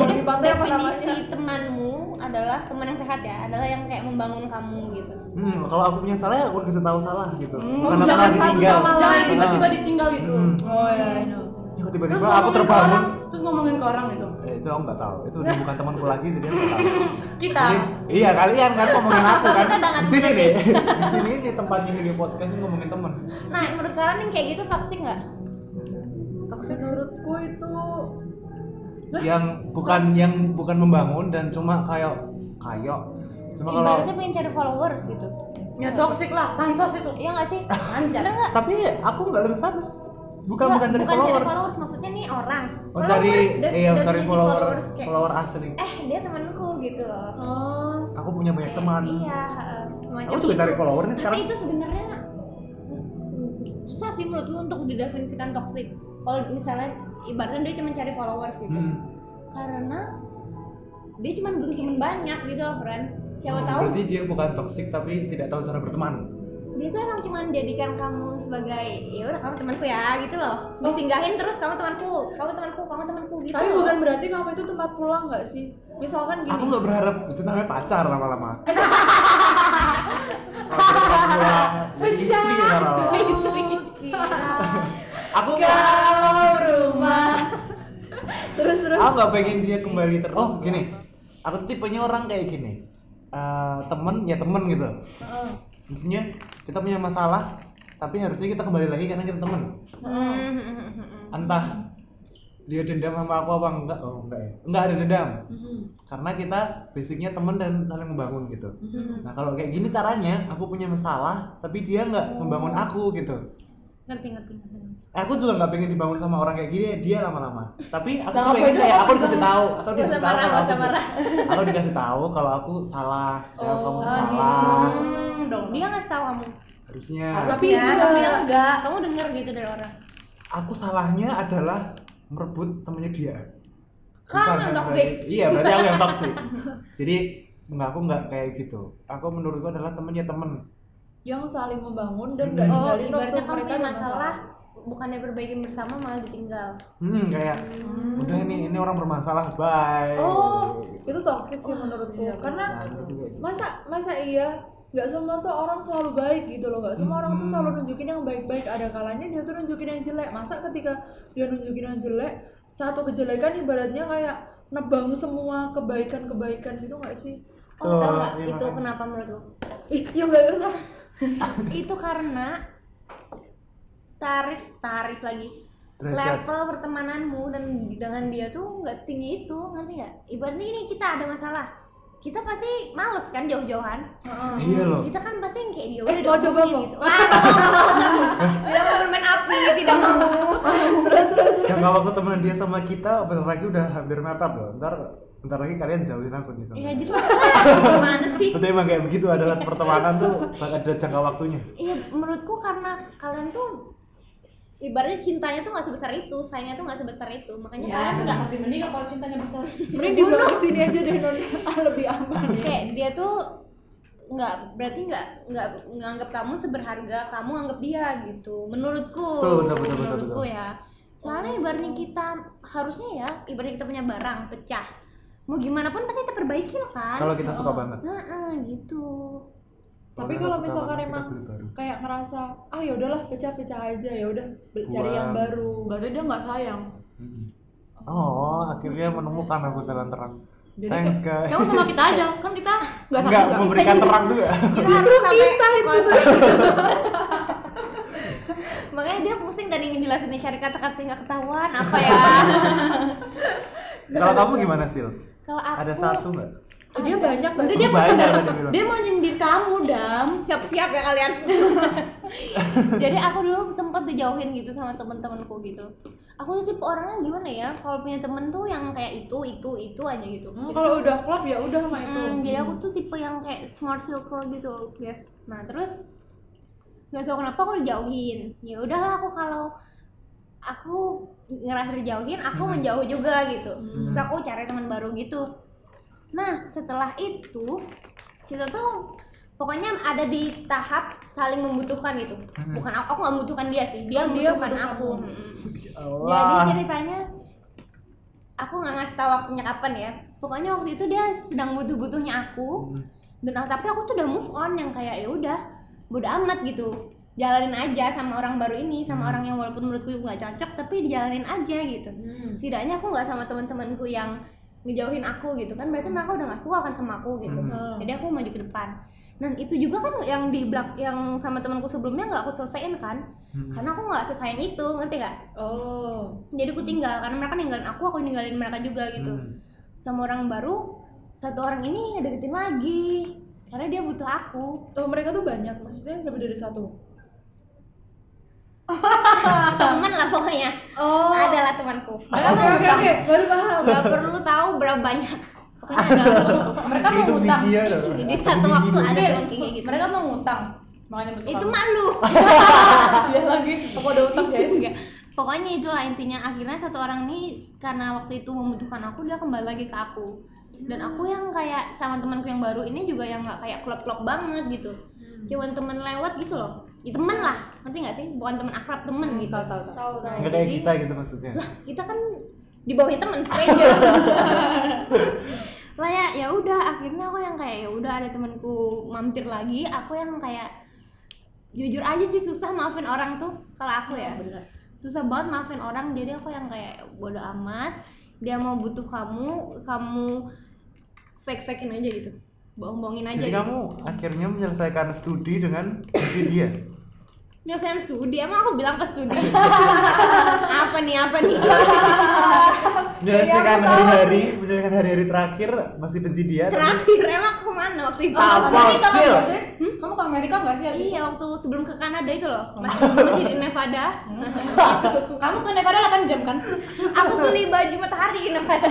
Speaker 2: jadi di pantai apa namanya
Speaker 3: Definisi temanmu adalah teman yang sehat ya, adalah yang kayak membangun kamu gitu.
Speaker 1: hmm, kalau aku punya salah ya aku udah kasih tahu salah gitu
Speaker 4: Hmm,
Speaker 1: Bukan aku
Speaker 2: jangan
Speaker 1: lagi
Speaker 2: satu
Speaker 1: tinggal.
Speaker 2: sama lain,
Speaker 4: jangan
Speaker 1: Ah.
Speaker 4: tiba-tiba ditinggal gitu
Speaker 1: Hmm.
Speaker 2: oh ya I know.
Speaker 1: Ya, kok
Speaker 4: terus
Speaker 1: tiba-tiba aku
Speaker 4: ngomongin ke
Speaker 1: terbangun
Speaker 4: orang terus ngomongin ke orang gitu
Speaker 1: Eh, itu aku nggak tahu itu udah bukan temanku lagi jadi aku nggak tahu
Speaker 4: kita
Speaker 1: Jadi- iya kalian kan ngomongin aku kan
Speaker 3: Kita udah nggak
Speaker 1: di sini nih di sini nih tempatnya ini podcast ini ngomongin temen
Speaker 3: Nah, menurut kalian yang kayak gitu toxic nggak?
Speaker 2: menurutku itu
Speaker 1: yang bukan yang bukan membangun dan cuma kayak kayak cuma kalau
Speaker 3: Ibaratnya pengen cari followers gitu.
Speaker 4: ya toksik lah pansos itu
Speaker 3: Iya nggak sih?
Speaker 4: anjir
Speaker 3: Bener nggak?
Speaker 1: tapi aku nggak lebih famous bukan bukan dari
Speaker 3: bukan
Speaker 1: follower
Speaker 3: cari followers, maksudnya nih orang.
Speaker 1: Oh cari
Speaker 3: Followers,
Speaker 1: iya
Speaker 3: definisi
Speaker 1: cari follower
Speaker 3: followers kayak,
Speaker 1: follower asli.
Speaker 3: eh dia temanku gitu loh.
Speaker 2: oh
Speaker 1: Aku punya banyak
Speaker 3: Kayak,
Speaker 1: teman.
Speaker 3: Iya, heeh, semacam
Speaker 1: Aku juga
Speaker 3: itu.
Speaker 1: cari follower nih
Speaker 3: Tapi
Speaker 1: sekarang.
Speaker 3: itu sebenarnya susah sih menurutku untuk didefinisikan toxic. Kalau misalnya ibaratnya dia cuma cari followers gitu.
Speaker 1: Hmm.
Speaker 3: karena dia cuma butuh temen banyak gitu loh Fran siapa
Speaker 1: Oh,
Speaker 3: tahu Iya.
Speaker 1: Berarti dia bukan toksik tapi tidak tahu cara berteman.
Speaker 3: dia tuh emang cuma jadikan kamu sebagai ya udah kamu temanku ya gitu loh
Speaker 1: Oh.
Speaker 3: disinggahin terus kamu temanku kamu temanku kamu temanku gitu
Speaker 2: tapi
Speaker 3: loh.
Speaker 2: bukan berarti kamu itu tempat pulang nggak sih misalkan
Speaker 1: Aku
Speaker 2: gini
Speaker 1: nggak berharap itu namanya pacar lama-lama. Kalau dia tempat pulang, dia istri lama-lama. Aku nggak-
Speaker 2: kau rumah terus terus
Speaker 1: aku nggak pengen dia kembali terus. Oh gini, aku tuh tipenya orang kayak gini. Eh, temen ya temen gitu. Maksudnya kita punya masalah tapi harusnya kita kembali lagi karena kita temen.
Speaker 3: Hmm, hmm, hmm, hmm.
Speaker 1: entah dia dendam sama aku apa enggak oh enggak ya enggak ada dendam karena kita basicnya temen dan saling membangun gitu nah kalau kayak gini caranya aku punya masalah tapi dia nggak membangun aku gitu
Speaker 2: ngerti ngerti ngerti
Speaker 1: aku juga nggak pengen dibangun sama orang kayak gini dia lama-lama tapi aku
Speaker 4: Nah,
Speaker 1: tuh
Speaker 4: apa
Speaker 1: pengen
Speaker 4: itu?
Speaker 1: kayak aku dikasih tahu atau
Speaker 3: Gak
Speaker 1: dikasih
Speaker 3: usah
Speaker 1: tahu
Speaker 3: marah,
Speaker 1: kalau
Speaker 3: gak usah
Speaker 1: aku-
Speaker 3: marah.
Speaker 1: aku dikasih tahu kalau aku salah ya
Speaker 2: Oh,
Speaker 1: kamu
Speaker 2: oh,
Speaker 1: salah
Speaker 4: Hmm, dong.
Speaker 3: Dia nggak tahu kamu.
Speaker 1: harusnya
Speaker 4: tapi tapi enggak.
Speaker 3: Kamu dengar gitu dari orang.
Speaker 1: aku salahnya adalah merebut temennya dia
Speaker 3: Kamu
Speaker 1: Bukan,
Speaker 3: yang
Speaker 1: berarti-
Speaker 3: toksik.
Speaker 1: iya berarti aku yang toksik jadi enggak aku nggak kayak gitu aku menurutku adalah temennya temen
Speaker 2: yang saling membangun dan gak
Speaker 3: Oh,
Speaker 2: ninggalin waktu
Speaker 3: ibaratnya kamu
Speaker 2: mereka
Speaker 3: punya
Speaker 2: ada
Speaker 3: masalah bukannya perbaiki bersama malah ditinggal.
Speaker 1: hmm kayak udah nih ini orang bermasalah bye
Speaker 2: Oh, itu toxic sih menurutku
Speaker 3: iya,
Speaker 2: karena
Speaker 1: Nah, aku juga gitu.
Speaker 2: masa masa iya nggak semua tuh orang selalu baik gitu loh nggak semua orang tuh
Speaker 1: Hmm.
Speaker 2: selalu nunjukin yang baik-baik ada kalanya dia tuh nunjukin yang jelek masa ketika dia nunjukin yang jelek satu kejelekan ibaratnya kayak nebang semua kebaikan-kebaikan gitu nggak sih
Speaker 3: Oh, tau
Speaker 1: Tuh,
Speaker 3: nggak
Speaker 1: iya,
Speaker 3: itu
Speaker 1: makanya.
Speaker 3: kenapa menurutku?
Speaker 2: ih ya nggak usah
Speaker 3: itu karena tarif tarif lagi
Speaker 1: Derajat.
Speaker 3: level pertemananmu dan dengan dia tuh nggak setinggi itu ngerti nggak ibaratnya ini kita ada masalah kita pasti males kan jauh-jauhan
Speaker 1: iya loh
Speaker 3: kita kan pasti yang kayak dia
Speaker 2: Eh, mau coba,
Speaker 3: diomongin
Speaker 2: Bang?
Speaker 3: gitu. Wah, tidak mau bermain api tidak mau
Speaker 1: jangka waktu temenan dia sama kita bentar lagi udah hampir mepet loh ntar bentar lagi kalian jauhin aku nih sama
Speaker 3: ya jadi lah, gimana sih
Speaker 1: Berarti emang kayak begitu adalah pertemanan tuh bakal ada jangka waktunya
Speaker 3: Iya, menurutku karena kalian tuh ibaratnya cintanya tuh nggak sebesar itu, sayangnya tuh nggak sebesar itu,
Speaker 2: Iya,
Speaker 3: makanya
Speaker 4: Ya,
Speaker 3: kalian nggak
Speaker 4: tapi mending kalau cintanya besar.
Speaker 2: mending dibawa ke sini aja deh non Ah, lebih aman
Speaker 3: kayak dia tuh nggak berarti nggak nggak nganggap kamu seberharga kamu anggap dia gitu menurutku
Speaker 1: Betul, betul, betul, betul,
Speaker 3: menurutku
Speaker 1: betul.
Speaker 3: ya soalnya ibaratnya kita harusnya ya ibaratnya kita punya barang pecah mau gimana pun pasti kita perbaiki lah kan
Speaker 1: kalau kita suka banget
Speaker 3: Heeh, gitu
Speaker 2: tapi
Speaker 1: kita
Speaker 2: kalau
Speaker 1: suka
Speaker 2: misalkan
Speaker 1: banget, kita
Speaker 2: emang
Speaker 1: beli baru.
Speaker 2: kayak ngerasa ah ya udahlah pecah-pecah aja ya udah beli- cari yang
Speaker 1: Buang.
Speaker 2: baru
Speaker 4: Berarti dia nggak sayang.
Speaker 1: Mm-mm. oh akhirnya menemukan aku jalan terang
Speaker 4: Jadi
Speaker 1: thanks
Speaker 4: kayak,
Speaker 1: guys
Speaker 4: kamu sama kita aja, kan kita nggak sama
Speaker 1: nggak memberikan terang juga
Speaker 3: kita harus sampai makanya dia pusing tadi ngejelasinnya cari kata-kata yang nggak ketahuan apa ya
Speaker 1: kalau kamu gimana Sil?
Speaker 3: kalau aku
Speaker 1: ada satu nggak?
Speaker 2: Kan
Speaker 4: Oh, dia banyak
Speaker 1: Oh,
Speaker 4: banget. Dia, mau
Speaker 1: banyak
Speaker 4: saudara-
Speaker 1: tadi bilang.
Speaker 4: dia mau nyindir kamu, Dam.
Speaker 3: siap-siap ya kalian jadi aku dulu sempat dijauhin gitu sama temen-temenku gitu aku tuh tipe orangnya gimana ya kalau punya temen tuh yang kayak itu itu itu aja gitu
Speaker 2: Hmm,
Speaker 3: Jadi
Speaker 2: kalau
Speaker 3: tuh-
Speaker 2: udah klop ya udah sama itu
Speaker 3: Hmm, jadi aku tuh tipe yang kayak smart circle gitu guys nah terus nggak tahu kenapa aku dijauhin ya udahlah aku kalau aku ngerasa dijauhin aku
Speaker 1: Hmm.
Speaker 3: menjauh juga gitu
Speaker 1: Hmm.
Speaker 3: terus aku cari teman baru gitu nah setelah itu kita tuh pokoknya ada di tahap saling membutuhkan gitu
Speaker 1: Hmm.
Speaker 3: bukan aku aku nggak membutuhkan dia sih dia
Speaker 2: Kan Oh, Dia
Speaker 3: membutuhkan
Speaker 2: butuhkan
Speaker 3: aku
Speaker 2: kamu.
Speaker 3: Hmm.
Speaker 1: Ya
Speaker 3: Jadi
Speaker 1: Allah
Speaker 3: ceritanya aku nggak ngasih tahu waktunya kapan ya. Pokoknya waktu itu dia sedang butuh-butuhnya aku.
Speaker 1: Hmm.
Speaker 3: Dan tapi aku tuh udah move on yang kayak ya udah bodo amat gitu. Jalanin aja sama orang baru ini, sama
Speaker 1: Hmm.
Speaker 3: orang yang walaupun menurutku nggak cocok tapi dijalanin aja gitu. Setidaknya aku nggak sama teman-temanku yang ngejauhin aku gitu kan berarti mereka udah nggak suka kan sama aku gitu.
Speaker 1: Hmm.
Speaker 2: Hmm.
Speaker 3: Jadi aku maju ke depan. Dan itu juga kan yang di belak yang sama temanku sebelumnya nggak aku selesaiin kan,
Speaker 1: Hmm.
Speaker 3: karena aku nggak sesayang itu, ngerti nggak?
Speaker 2: oh
Speaker 3: jadi aku tinggal karena mereka ninggalin aku aku ninggalin mereka juga gitu
Speaker 1: Hmm.
Speaker 3: sama orang baru satu orang ini deketin lagi karena dia butuh aku
Speaker 2: Oh, mereka tuh banyak, maksudnya lebih dari satu.
Speaker 3: teman lah pokoknya
Speaker 2: Oh, Nah,
Speaker 3: adalah temanku
Speaker 2: Oke, oke, oke, baru paham.
Speaker 3: nggak perlu tahu berapa banyak pokoknya adalah temanku mereka mau
Speaker 1: itu
Speaker 3: ngutang
Speaker 1: biji ya loh.
Speaker 3: jadi satu waktu ada
Speaker 4: Iya.
Speaker 3: dong kayak gitu
Speaker 4: Mereka mau ngutang. Makanya bertukar.
Speaker 3: itu malu
Speaker 4: dia lagi aku ada utang, guys.
Speaker 3: Enggak. pokoknya itulah intinya akhirnya satu orang ini karena waktu itu membutuhkan aku dia kembali lagi ke aku dan aku yang kayak sama temanku yang baru ini juga yang nggak kayak klop-klop banget gitu cuman temen lewat gitu loh ya, temen lah ngerti nggak sih bukan temen akrab temen gitu
Speaker 2: Tahu, tahu, tahu.
Speaker 3: Nah,
Speaker 1: nggak kayak
Speaker 3: jadi
Speaker 1: kita gitu maksudnya
Speaker 3: kita kan di bawahnya temen stranger lah ya ya udah akhirnya aku yang kayak ya udah ada temanku mampir lagi aku yang kayak jujur aja sih susah maafin orang tuh kalau aku ya susah banget maafin orang jadi aku yang kayak bodo amat dia mau butuh kamu kamu fake fakein aja gitu bohong bohongin aja gitu.
Speaker 1: jadi
Speaker 3: Iya,
Speaker 1: kamu akhirnya menyelesaikan studi dengan benci dia
Speaker 3: Menyelesaikan studi, emang aku bilang ke studi Apa nih, apa nih?
Speaker 1: menyelesaikan hari-hari menyelesaikan hari-hari terakhir masih benci dia tapi-
Speaker 3: Terakhir, emang aku kemana waktu itu?
Speaker 1: Ah,
Speaker 4: kamu ini kapan
Speaker 1: gokil.
Speaker 4: nggak sih? Hmm? Kamu ke Amerika nggak sih? Abi?
Speaker 3: Iya, waktu sebelum ke Kanada itu
Speaker 1: Oh.
Speaker 3: loh Masih, masih di Nevada
Speaker 1: Hmm.
Speaker 4: Kamu ke Nevada 8 jam kan?
Speaker 3: Aku beli baju matahari di Nevada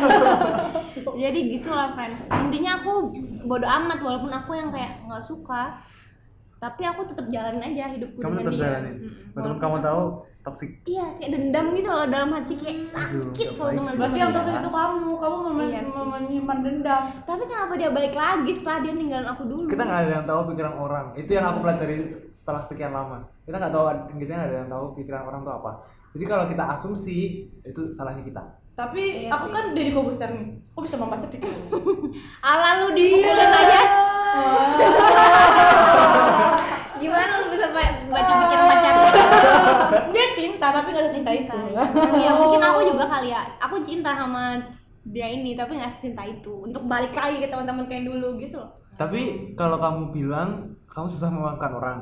Speaker 3: Jadi gitulah friends Intinya aku bodo amat walaupun aku yang kayak nggak suka Tapi aku tetap jalanin aja hidupku
Speaker 1: kamu
Speaker 3: dengan
Speaker 1: tetap
Speaker 3: dia
Speaker 1: jalanin
Speaker 3: Mm-mm.
Speaker 1: walaupun
Speaker 3: Walaupun
Speaker 1: kamu
Speaker 3: aku-
Speaker 1: tahu toksik
Speaker 3: Iya, kayak dendam gitu loh dalam hati kayak
Speaker 1: Aduh,
Speaker 3: sakit
Speaker 1: nggak
Speaker 3: kalau
Speaker 1: baik
Speaker 3: teman
Speaker 1: sih.
Speaker 4: Berarti yang tahu itu kamu, kamu mem
Speaker 3: Iya sih.
Speaker 4: mem- menyimpan dendam.
Speaker 3: Tapi kenapa dia balik lagi setelah dia ninggalin aku dulu?
Speaker 1: kita nggak ada yang tahu pikiran orang itu yang aku pelajari setelah sekian lama kita nggak tahu kita nggak ada yang tahu pikiran orang tuh apa jadi kalau kita asumsi itu salahnya kita
Speaker 4: Tapi aku kan dari Kobuster nih. Aku bisa membaca pikiran.
Speaker 3: Ala lu dipukulin aja.
Speaker 2: Oh.
Speaker 3: Gimana lu bisa ba- baca pikiran pacar? lu?
Speaker 4: Dia cinta iya. tapi nggak secinta itu.
Speaker 3: ya mungkin aku juga kali ya. Aku cinta sama dia ini tapi nggak cinta itu untuk balik lagi ke teman-teman kayak dulu gitu loh.
Speaker 1: tapi kalau kamu bilang kamu susah memaafkan orang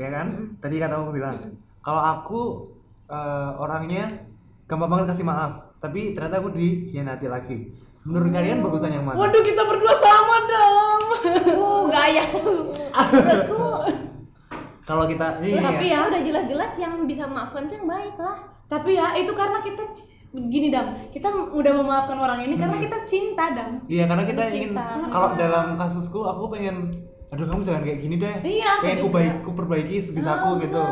Speaker 1: ya kan tadi kan kamu bilang kalau aku eh, orangnya gampang banget kasih maaf tapi ternyata aku dikhianati lagi
Speaker 3: Oh.
Speaker 1: menurut kalian bagusan yang mana
Speaker 4: Waduh kita berdua sama dong.
Speaker 3: Uh, gaya. Menurutku
Speaker 1: kalau kita ini
Speaker 4: Tapi
Speaker 1: ya,
Speaker 4: ya,
Speaker 3: udah jelas-jelas yang bisa maafkan tuh yang baik lah.
Speaker 4: tapi ya itu karena kita c- gini dam. Kita udah memaafkan orang ini karena
Speaker 1: Hmm.
Speaker 4: kita cinta dam.
Speaker 1: iya karena kita
Speaker 3: Cinta.
Speaker 1: ingin kalau dalam kasusku aku pengen aduh kamu jangan kayak gini deh
Speaker 4: Iya, aku
Speaker 1: pengen ku
Speaker 4: juga.
Speaker 1: baik- ku perbaiki
Speaker 3: Ah,
Speaker 1: sebisaku gitu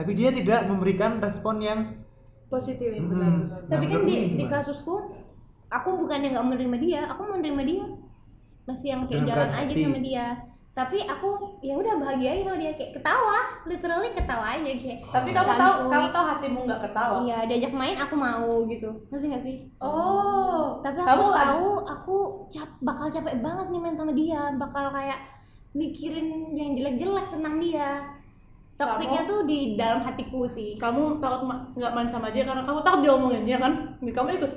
Speaker 1: tapi dia tidak memberikan respon yang
Speaker 2: positif
Speaker 3: Iya,
Speaker 1: Hmm.
Speaker 2: benar-benar
Speaker 1: Nah,
Speaker 3: Tapi kan
Speaker 1: menurut
Speaker 3: di,
Speaker 1: lu
Speaker 3: di
Speaker 1: gimana?
Speaker 3: kasusku aku bukannya nggak menerima dia, aku menerima dia. Masih yang kayak
Speaker 1: Dengan
Speaker 3: jalan
Speaker 1: berat
Speaker 3: aja
Speaker 1: hati.
Speaker 3: sama dia. Tapi aku ya udah bahagiain sama dia kayak ketawa, literally ketawa aja kayak. "Oh,
Speaker 4: Tapi kamu tahu,
Speaker 3: Santuy.
Speaker 4: kamu tahu hatimu nggak ketawa.
Speaker 3: Iya, diajak main aku mau gitu. Ngerti gak sih?
Speaker 2: oh
Speaker 3: Tapi aku
Speaker 4: Kamu ada-
Speaker 3: tahu aku cap- bakal capek banget nih main sama dia, bakal kayak mikirin yang jelek-jelek tentang dia. Toksiknya
Speaker 4: Kamu-
Speaker 3: tuh di dalam hatiku sih.
Speaker 4: Kamu takut ma- nggak main sama dia karena kamu takut diomongin ya kan? Nih, Kamu ikut.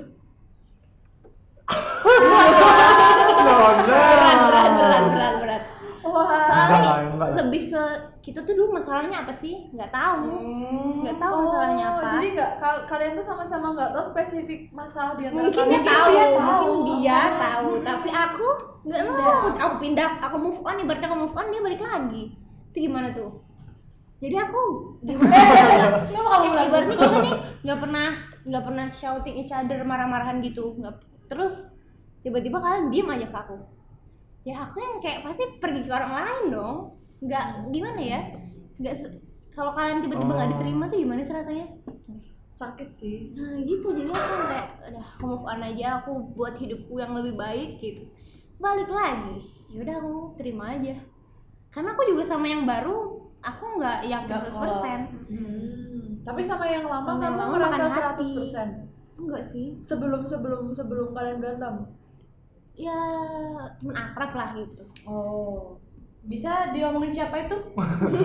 Speaker 3: Berat, berat, berat, berat, berat.
Speaker 2: wah
Speaker 1: Enggak lah,
Speaker 3: Soalnya
Speaker 1: enggak lah.
Speaker 3: lebih ke kita tuh dulu masalahnya apa sih? Nggak tahu.
Speaker 4: Hmm.
Speaker 3: Nggak tahu
Speaker 2: Hmm. Oh,
Speaker 3: masalahnya apa.
Speaker 2: jadi nggak kal- kalian tuh sama-sama nggak tahu spesifik masalah di antara gitu ya.
Speaker 3: mungkin dia
Speaker 2: kalian.
Speaker 3: tahu, mungkin dia
Speaker 2: Oh.
Speaker 3: tahu, tapi aku nggak mau. Aku pindah, aku move on, ibaratnya aku move on dia balik lagi. Itu gimana tuh? Jadi aku gimana?
Speaker 4: Kenapa kamu
Speaker 3: Eh,
Speaker 4: bilang
Speaker 3: ibaratnya kita nih nggak pernah nggak pernah shouting each other marah-marahan gitu. Nggak, terus tiba-tiba kalian diem aja ke aku. Ya aku yang kayak pasti pergi ke orang lain dong. Nggak gimana ya? Nggak se- kalau kalian tiba-tiba nggak
Speaker 1: Oh.
Speaker 3: diterima tuh gimana sih rasanya?
Speaker 2: sakit sih
Speaker 3: Nah gitu jadi aku kayak udah aku move on aja aku buat hidupku yang lebih baik gitu. Balik lagi. Ya udah aku terima aja. Karena aku juga sama yang baru aku nggak yakin
Speaker 4: Nggak
Speaker 3: 100%.
Speaker 4: Hmm.
Speaker 2: tapi sama yang lama
Speaker 3: Sama yang
Speaker 2: kamu
Speaker 3: lama
Speaker 2: merasa
Speaker 3: makan hati.
Speaker 2: 100%
Speaker 3: Enggak sih.
Speaker 2: sebelum sebelum sebelum kalian berantem
Speaker 3: Ya temen akrab lah gitu.
Speaker 2: oh
Speaker 4: Bisa diomongin siapa itu?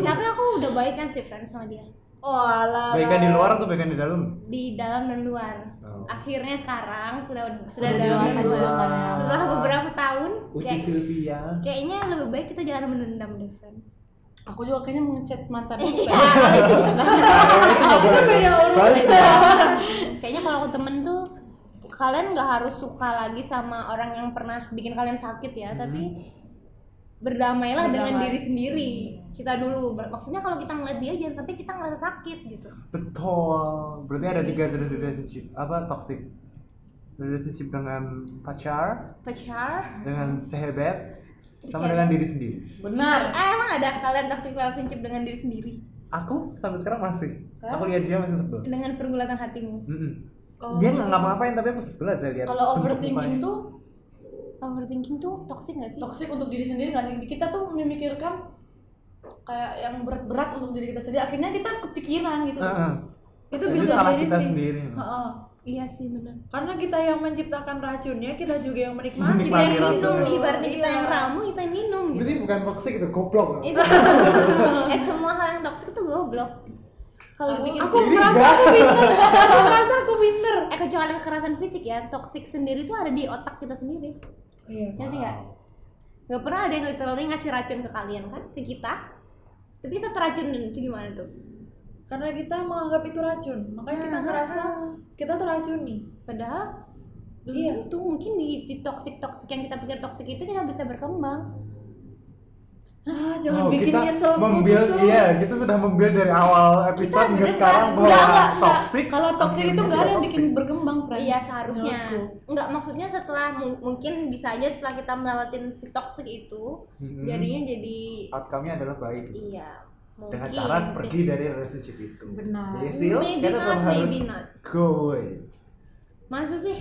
Speaker 3: Tapi aku udah baik kan sih friends sama dia.
Speaker 2: oh alah
Speaker 1: Baikan kan di luar atau baikan di dalam?
Speaker 3: Di dalam dan luar.
Speaker 1: Oh.
Speaker 3: Akhirnya sekarang sudah sudah
Speaker 1: Udah
Speaker 3: dewasa
Speaker 1: dewasa
Speaker 3: juga.
Speaker 1: juga kan ya.
Speaker 3: Setelah beberapa tahun
Speaker 1: Uci
Speaker 3: kayak-
Speaker 1: Sylvia.
Speaker 3: kayaknya lebih baik kita jangan menendam deh friends.
Speaker 4: Aku juga kayaknya mengechat mantan.
Speaker 1: itu nggak boleh. Balik.
Speaker 3: kayaknya kalau ke temen tuh kalian nggak harus suka lagi sama orang yang pernah bikin kalian sakit ya tapi berdamailah dengan
Speaker 4: Berdamai.
Speaker 3: diri sendiri kita dulu Ber- maksudnya kalau kita ngeliat dia jangan sampai kita ngerasa sakit gitu
Speaker 1: Betul. Berarti ada tiga jenis relationship. Apa toxic? Relationship dengan pacar,
Speaker 3: pacar
Speaker 1: dengan sahabat, sama dengan diri sendiri.
Speaker 4: Benar.
Speaker 3: eh, emang ada kalian toxic relationship dengan diri sendiri
Speaker 1: Aku sampai sekarang masih.
Speaker 4: Kenapa?
Speaker 1: Aku lihat dia masih sebel.
Speaker 3: dengan pergulatan hatimu
Speaker 1: Mm-mm.
Speaker 2: Oh.
Speaker 1: Dia nggak ngapa-ngapain tapi aku sebel aja lihat.
Speaker 4: Kalau
Speaker 1: bentuk
Speaker 4: overthinking
Speaker 1: mukanya.
Speaker 4: tuh
Speaker 3: overthinking tuh toxic nggak sih
Speaker 4: toksik untuk diri sendiri nggak sih? Kita tuh memikirkan kayak yang berat-berat untuk diri kita sendiri. Akhirnya kita kepikiran gitu.
Speaker 1: Heeh.
Speaker 2: itu
Speaker 1: Jadi
Speaker 2: bisa
Speaker 1: salah
Speaker 2: jadi
Speaker 1: kita
Speaker 2: sih
Speaker 1: sendiri.
Speaker 2: Heeh.
Speaker 3: iya sih benar
Speaker 2: karena kita yang menciptakan racunnya kita juga yang menikmati
Speaker 3: kita yang
Speaker 1: Nikmati
Speaker 3: minum
Speaker 1: rasanya.
Speaker 3: ibaratnya kita yang
Speaker 2: Iya.
Speaker 3: ramu kita yang minum gitu
Speaker 1: Berarti bukan toxic itu goblok.
Speaker 3: itu eh semua hal yang toxic tuh goblok kalau dipikir
Speaker 2: aku merasa aku pinter aku merasa aku pinter
Speaker 3: eh kecuali kekerasan fisik ya toxic sendiri tuh ada di otak kita sendiri
Speaker 2: iya
Speaker 3: ngerti nggak nggak pernah ada yang literally ngasih racun ke kalian kan ke kita tapi kita teracunin itu gimana tuh
Speaker 2: karena kita menganggap itu racun makanya kita
Speaker 3: Ah,
Speaker 2: ngerasa kita teracuni padahal belum
Speaker 3: iya tuh mungkin di, di toxic toxic yang kita pikir toxic itu kita bisa berkembang
Speaker 2: ah jangan
Speaker 1: Oh,
Speaker 2: bikin
Speaker 1: kita
Speaker 2: nyesel
Speaker 1: membuild,
Speaker 2: putus dong.
Speaker 1: iya, kita sudah membuild dari awal episode hingga
Speaker 3: beneran.
Speaker 1: sekarang bahwa
Speaker 4: Enggak, enggak, enggak.
Speaker 1: toxic.
Speaker 4: Kalau toxic itu
Speaker 1: akhirnya
Speaker 4: nggak ada
Speaker 1: juga
Speaker 4: yang bikin
Speaker 1: toxic.
Speaker 4: berkembang, Fran.
Speaker 3: iya seharusnya
Speaker 4: Menurutku.
Speaker 3: nggak maksudnya setelah mu- mungkin bisa aja setelah kita melewatin si toxic itu
Speaker 1: Mm-mm.
Speaker 3: jadinya jadi
Speaker 1: outcome-nya adalah baik
Speaker 3: iya mungkin
Speaker 1: dengan cara pergi dari relationship itu.
Speaker 2: Benar.
Speaker 1: Jadi sih,
Speaker 3: maybe
Speaker 1: kita
Speaker 3: not
Speaker 1: tetap harus
Speaker 3: maybe not
Speaker 1: go away.
Speaker 3: maksud sih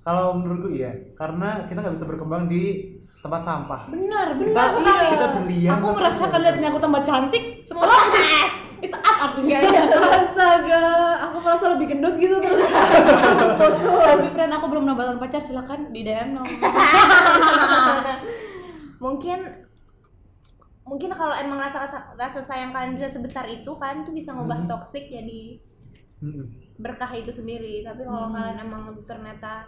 Speaker 1: Kalau menurutku iya, karena kita nggak bisa berkembang di tempat sampah. Kita,
Speaker 4: Benar, benar sekali.
Speaker 1: iya, kita berlian.
Speaker 4: Aku merasakan liatnya aku tambah cantik setelah
Speaker 3: Eh,
Speaker 4: itu up artinya.
Speaker 2: astaga aku merasa lebih gendut gitu terus Fokus.
Speaker 4: Tapi friend aku belum nambah pacar silakan di DM nomor.
Speaker 3: mungkin mungkin kalau emang rasa rasa, rasa sayang kalian bisa sebesar itu kalian tuh bisa ngubah
Speaker 1: Mhm.
Speaker 3: toxic jadi
Speaker 1: Mm-mm.
Speaker 3: berkah itu sendiri tapi
Speaker 1: Hmm.
Speaker 3: kalau kalian emang ternyata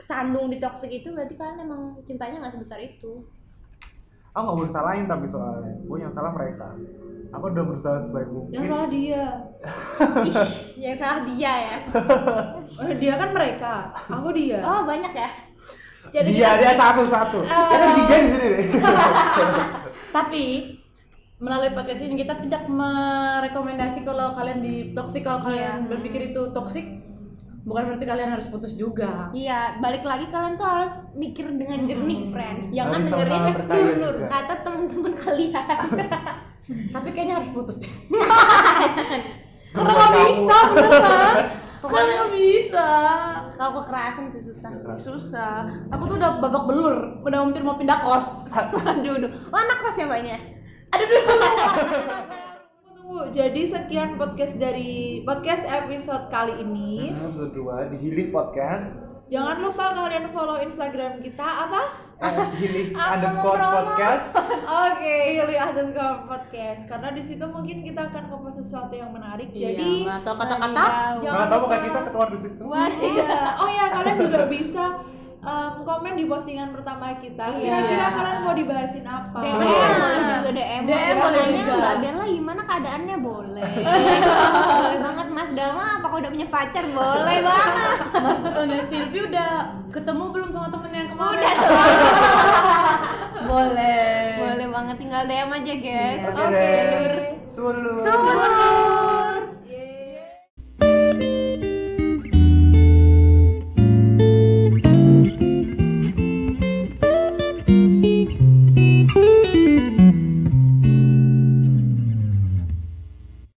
Speaker 3: kesandung di toxic itu berarti kalian emang cintanya nggak sebesar itu
Speaker 1: Aku nggak mau salahin tapi soalnya, gue yang salah mereka. Aku udah berusaha sebaik mungkin.
Speaker 2: yang salah dia
Speaker 3: Ih, yang salah dia ya
Speaker 2: Eh, dia kan mereka aku dia
Speaker 3: oh banyak ya
Speaker 1: dia
Speaker 3: kita-
Speaker 1: dia satu satu. Kita tiga di sini deh.
Speaker 4: Tapi melalui paket ini kita tidak merekomendasi kalau kalian di toxic kalau kalian berpikir itu toxic bukan berarti kalian harus putus juga.
Speaker 3: Iya, balik lagi kalian tuh harus mikir dengan jernih, friend. Jangan
Speaker 1: Hmm. Harus
Speaker 3: dengerin
Speaker 1: sama-sama percaya
Speaker 3: nur
Speaker 1: juga.
Speaker 3: kata teman-teman kalian.
Speaker 4: Tapi kayaknya harus putus deh. Karena
Speaker 1: Karena
Speaker 4: nggak
Speaker 1: kamu.
Speaker 4: bisa, beneran. Karena nggak bisa.
Speaker 3: Kalau kekerasan tuh susah.
Speaker 4: Susah. Aku tuh udah babak belur, udah hampir mau pindah kos.
Speaker 3: Aduh, aduh. Oh, anak kelas ya mbaknya?
Speaker 2: Tunggu, tunggu jadi sekian podcast dari podcast episode kali ini
Speaker 1: Hmm, Episode dua di Hilih Podcast.
Speaker 2: jangan lupa kalian follow instagram kita apa
Speaker 1: Eh, Hilih
Speaker 3: Aku
Speaker 1: underscore
Speaker 3: ngepromo.
Speaker 1: podcast.
Speaker 2: oke Hilly underscore podcast karena di situ mungkin kita akan ngepost sesuatu yang menarik jadi
Speaker 4: Iya, atau kata-kata
Speaker 2: Ya
Speaker 1: Mana tahu bukan kita keluar di situ.
Speaker 3: Wah,
Speaker 2: iya oh ya kalian juga bisa em, komen di postingan pertama kita kira-kira kalian mau dibahasin apa
Speaker 3: DM
Speaker 1: Iya.
Speaker 3: boleh juga DM.
Speaker 4: DM boleh
Speaker 3: Tanya
Speaker 4: juga.
Speaker 3: Mbak Bella gimana keadaannya boleh. boleh banget Mas Dama apa kau udah punya pacar? Boleh banget.
Speaker 4: Udah Silvi udah ketemu belum sama temennya yang kemarin?
Speaker 3: Udah tuh.
Speaker 4: Boleh.
Speaker 3: boleh banget tinggal DM aja, guys.
Speaker 1: Oke
Speaker 2: Oke.
Speaker 1: deh. Sulur.
Speaker 3: Boleh.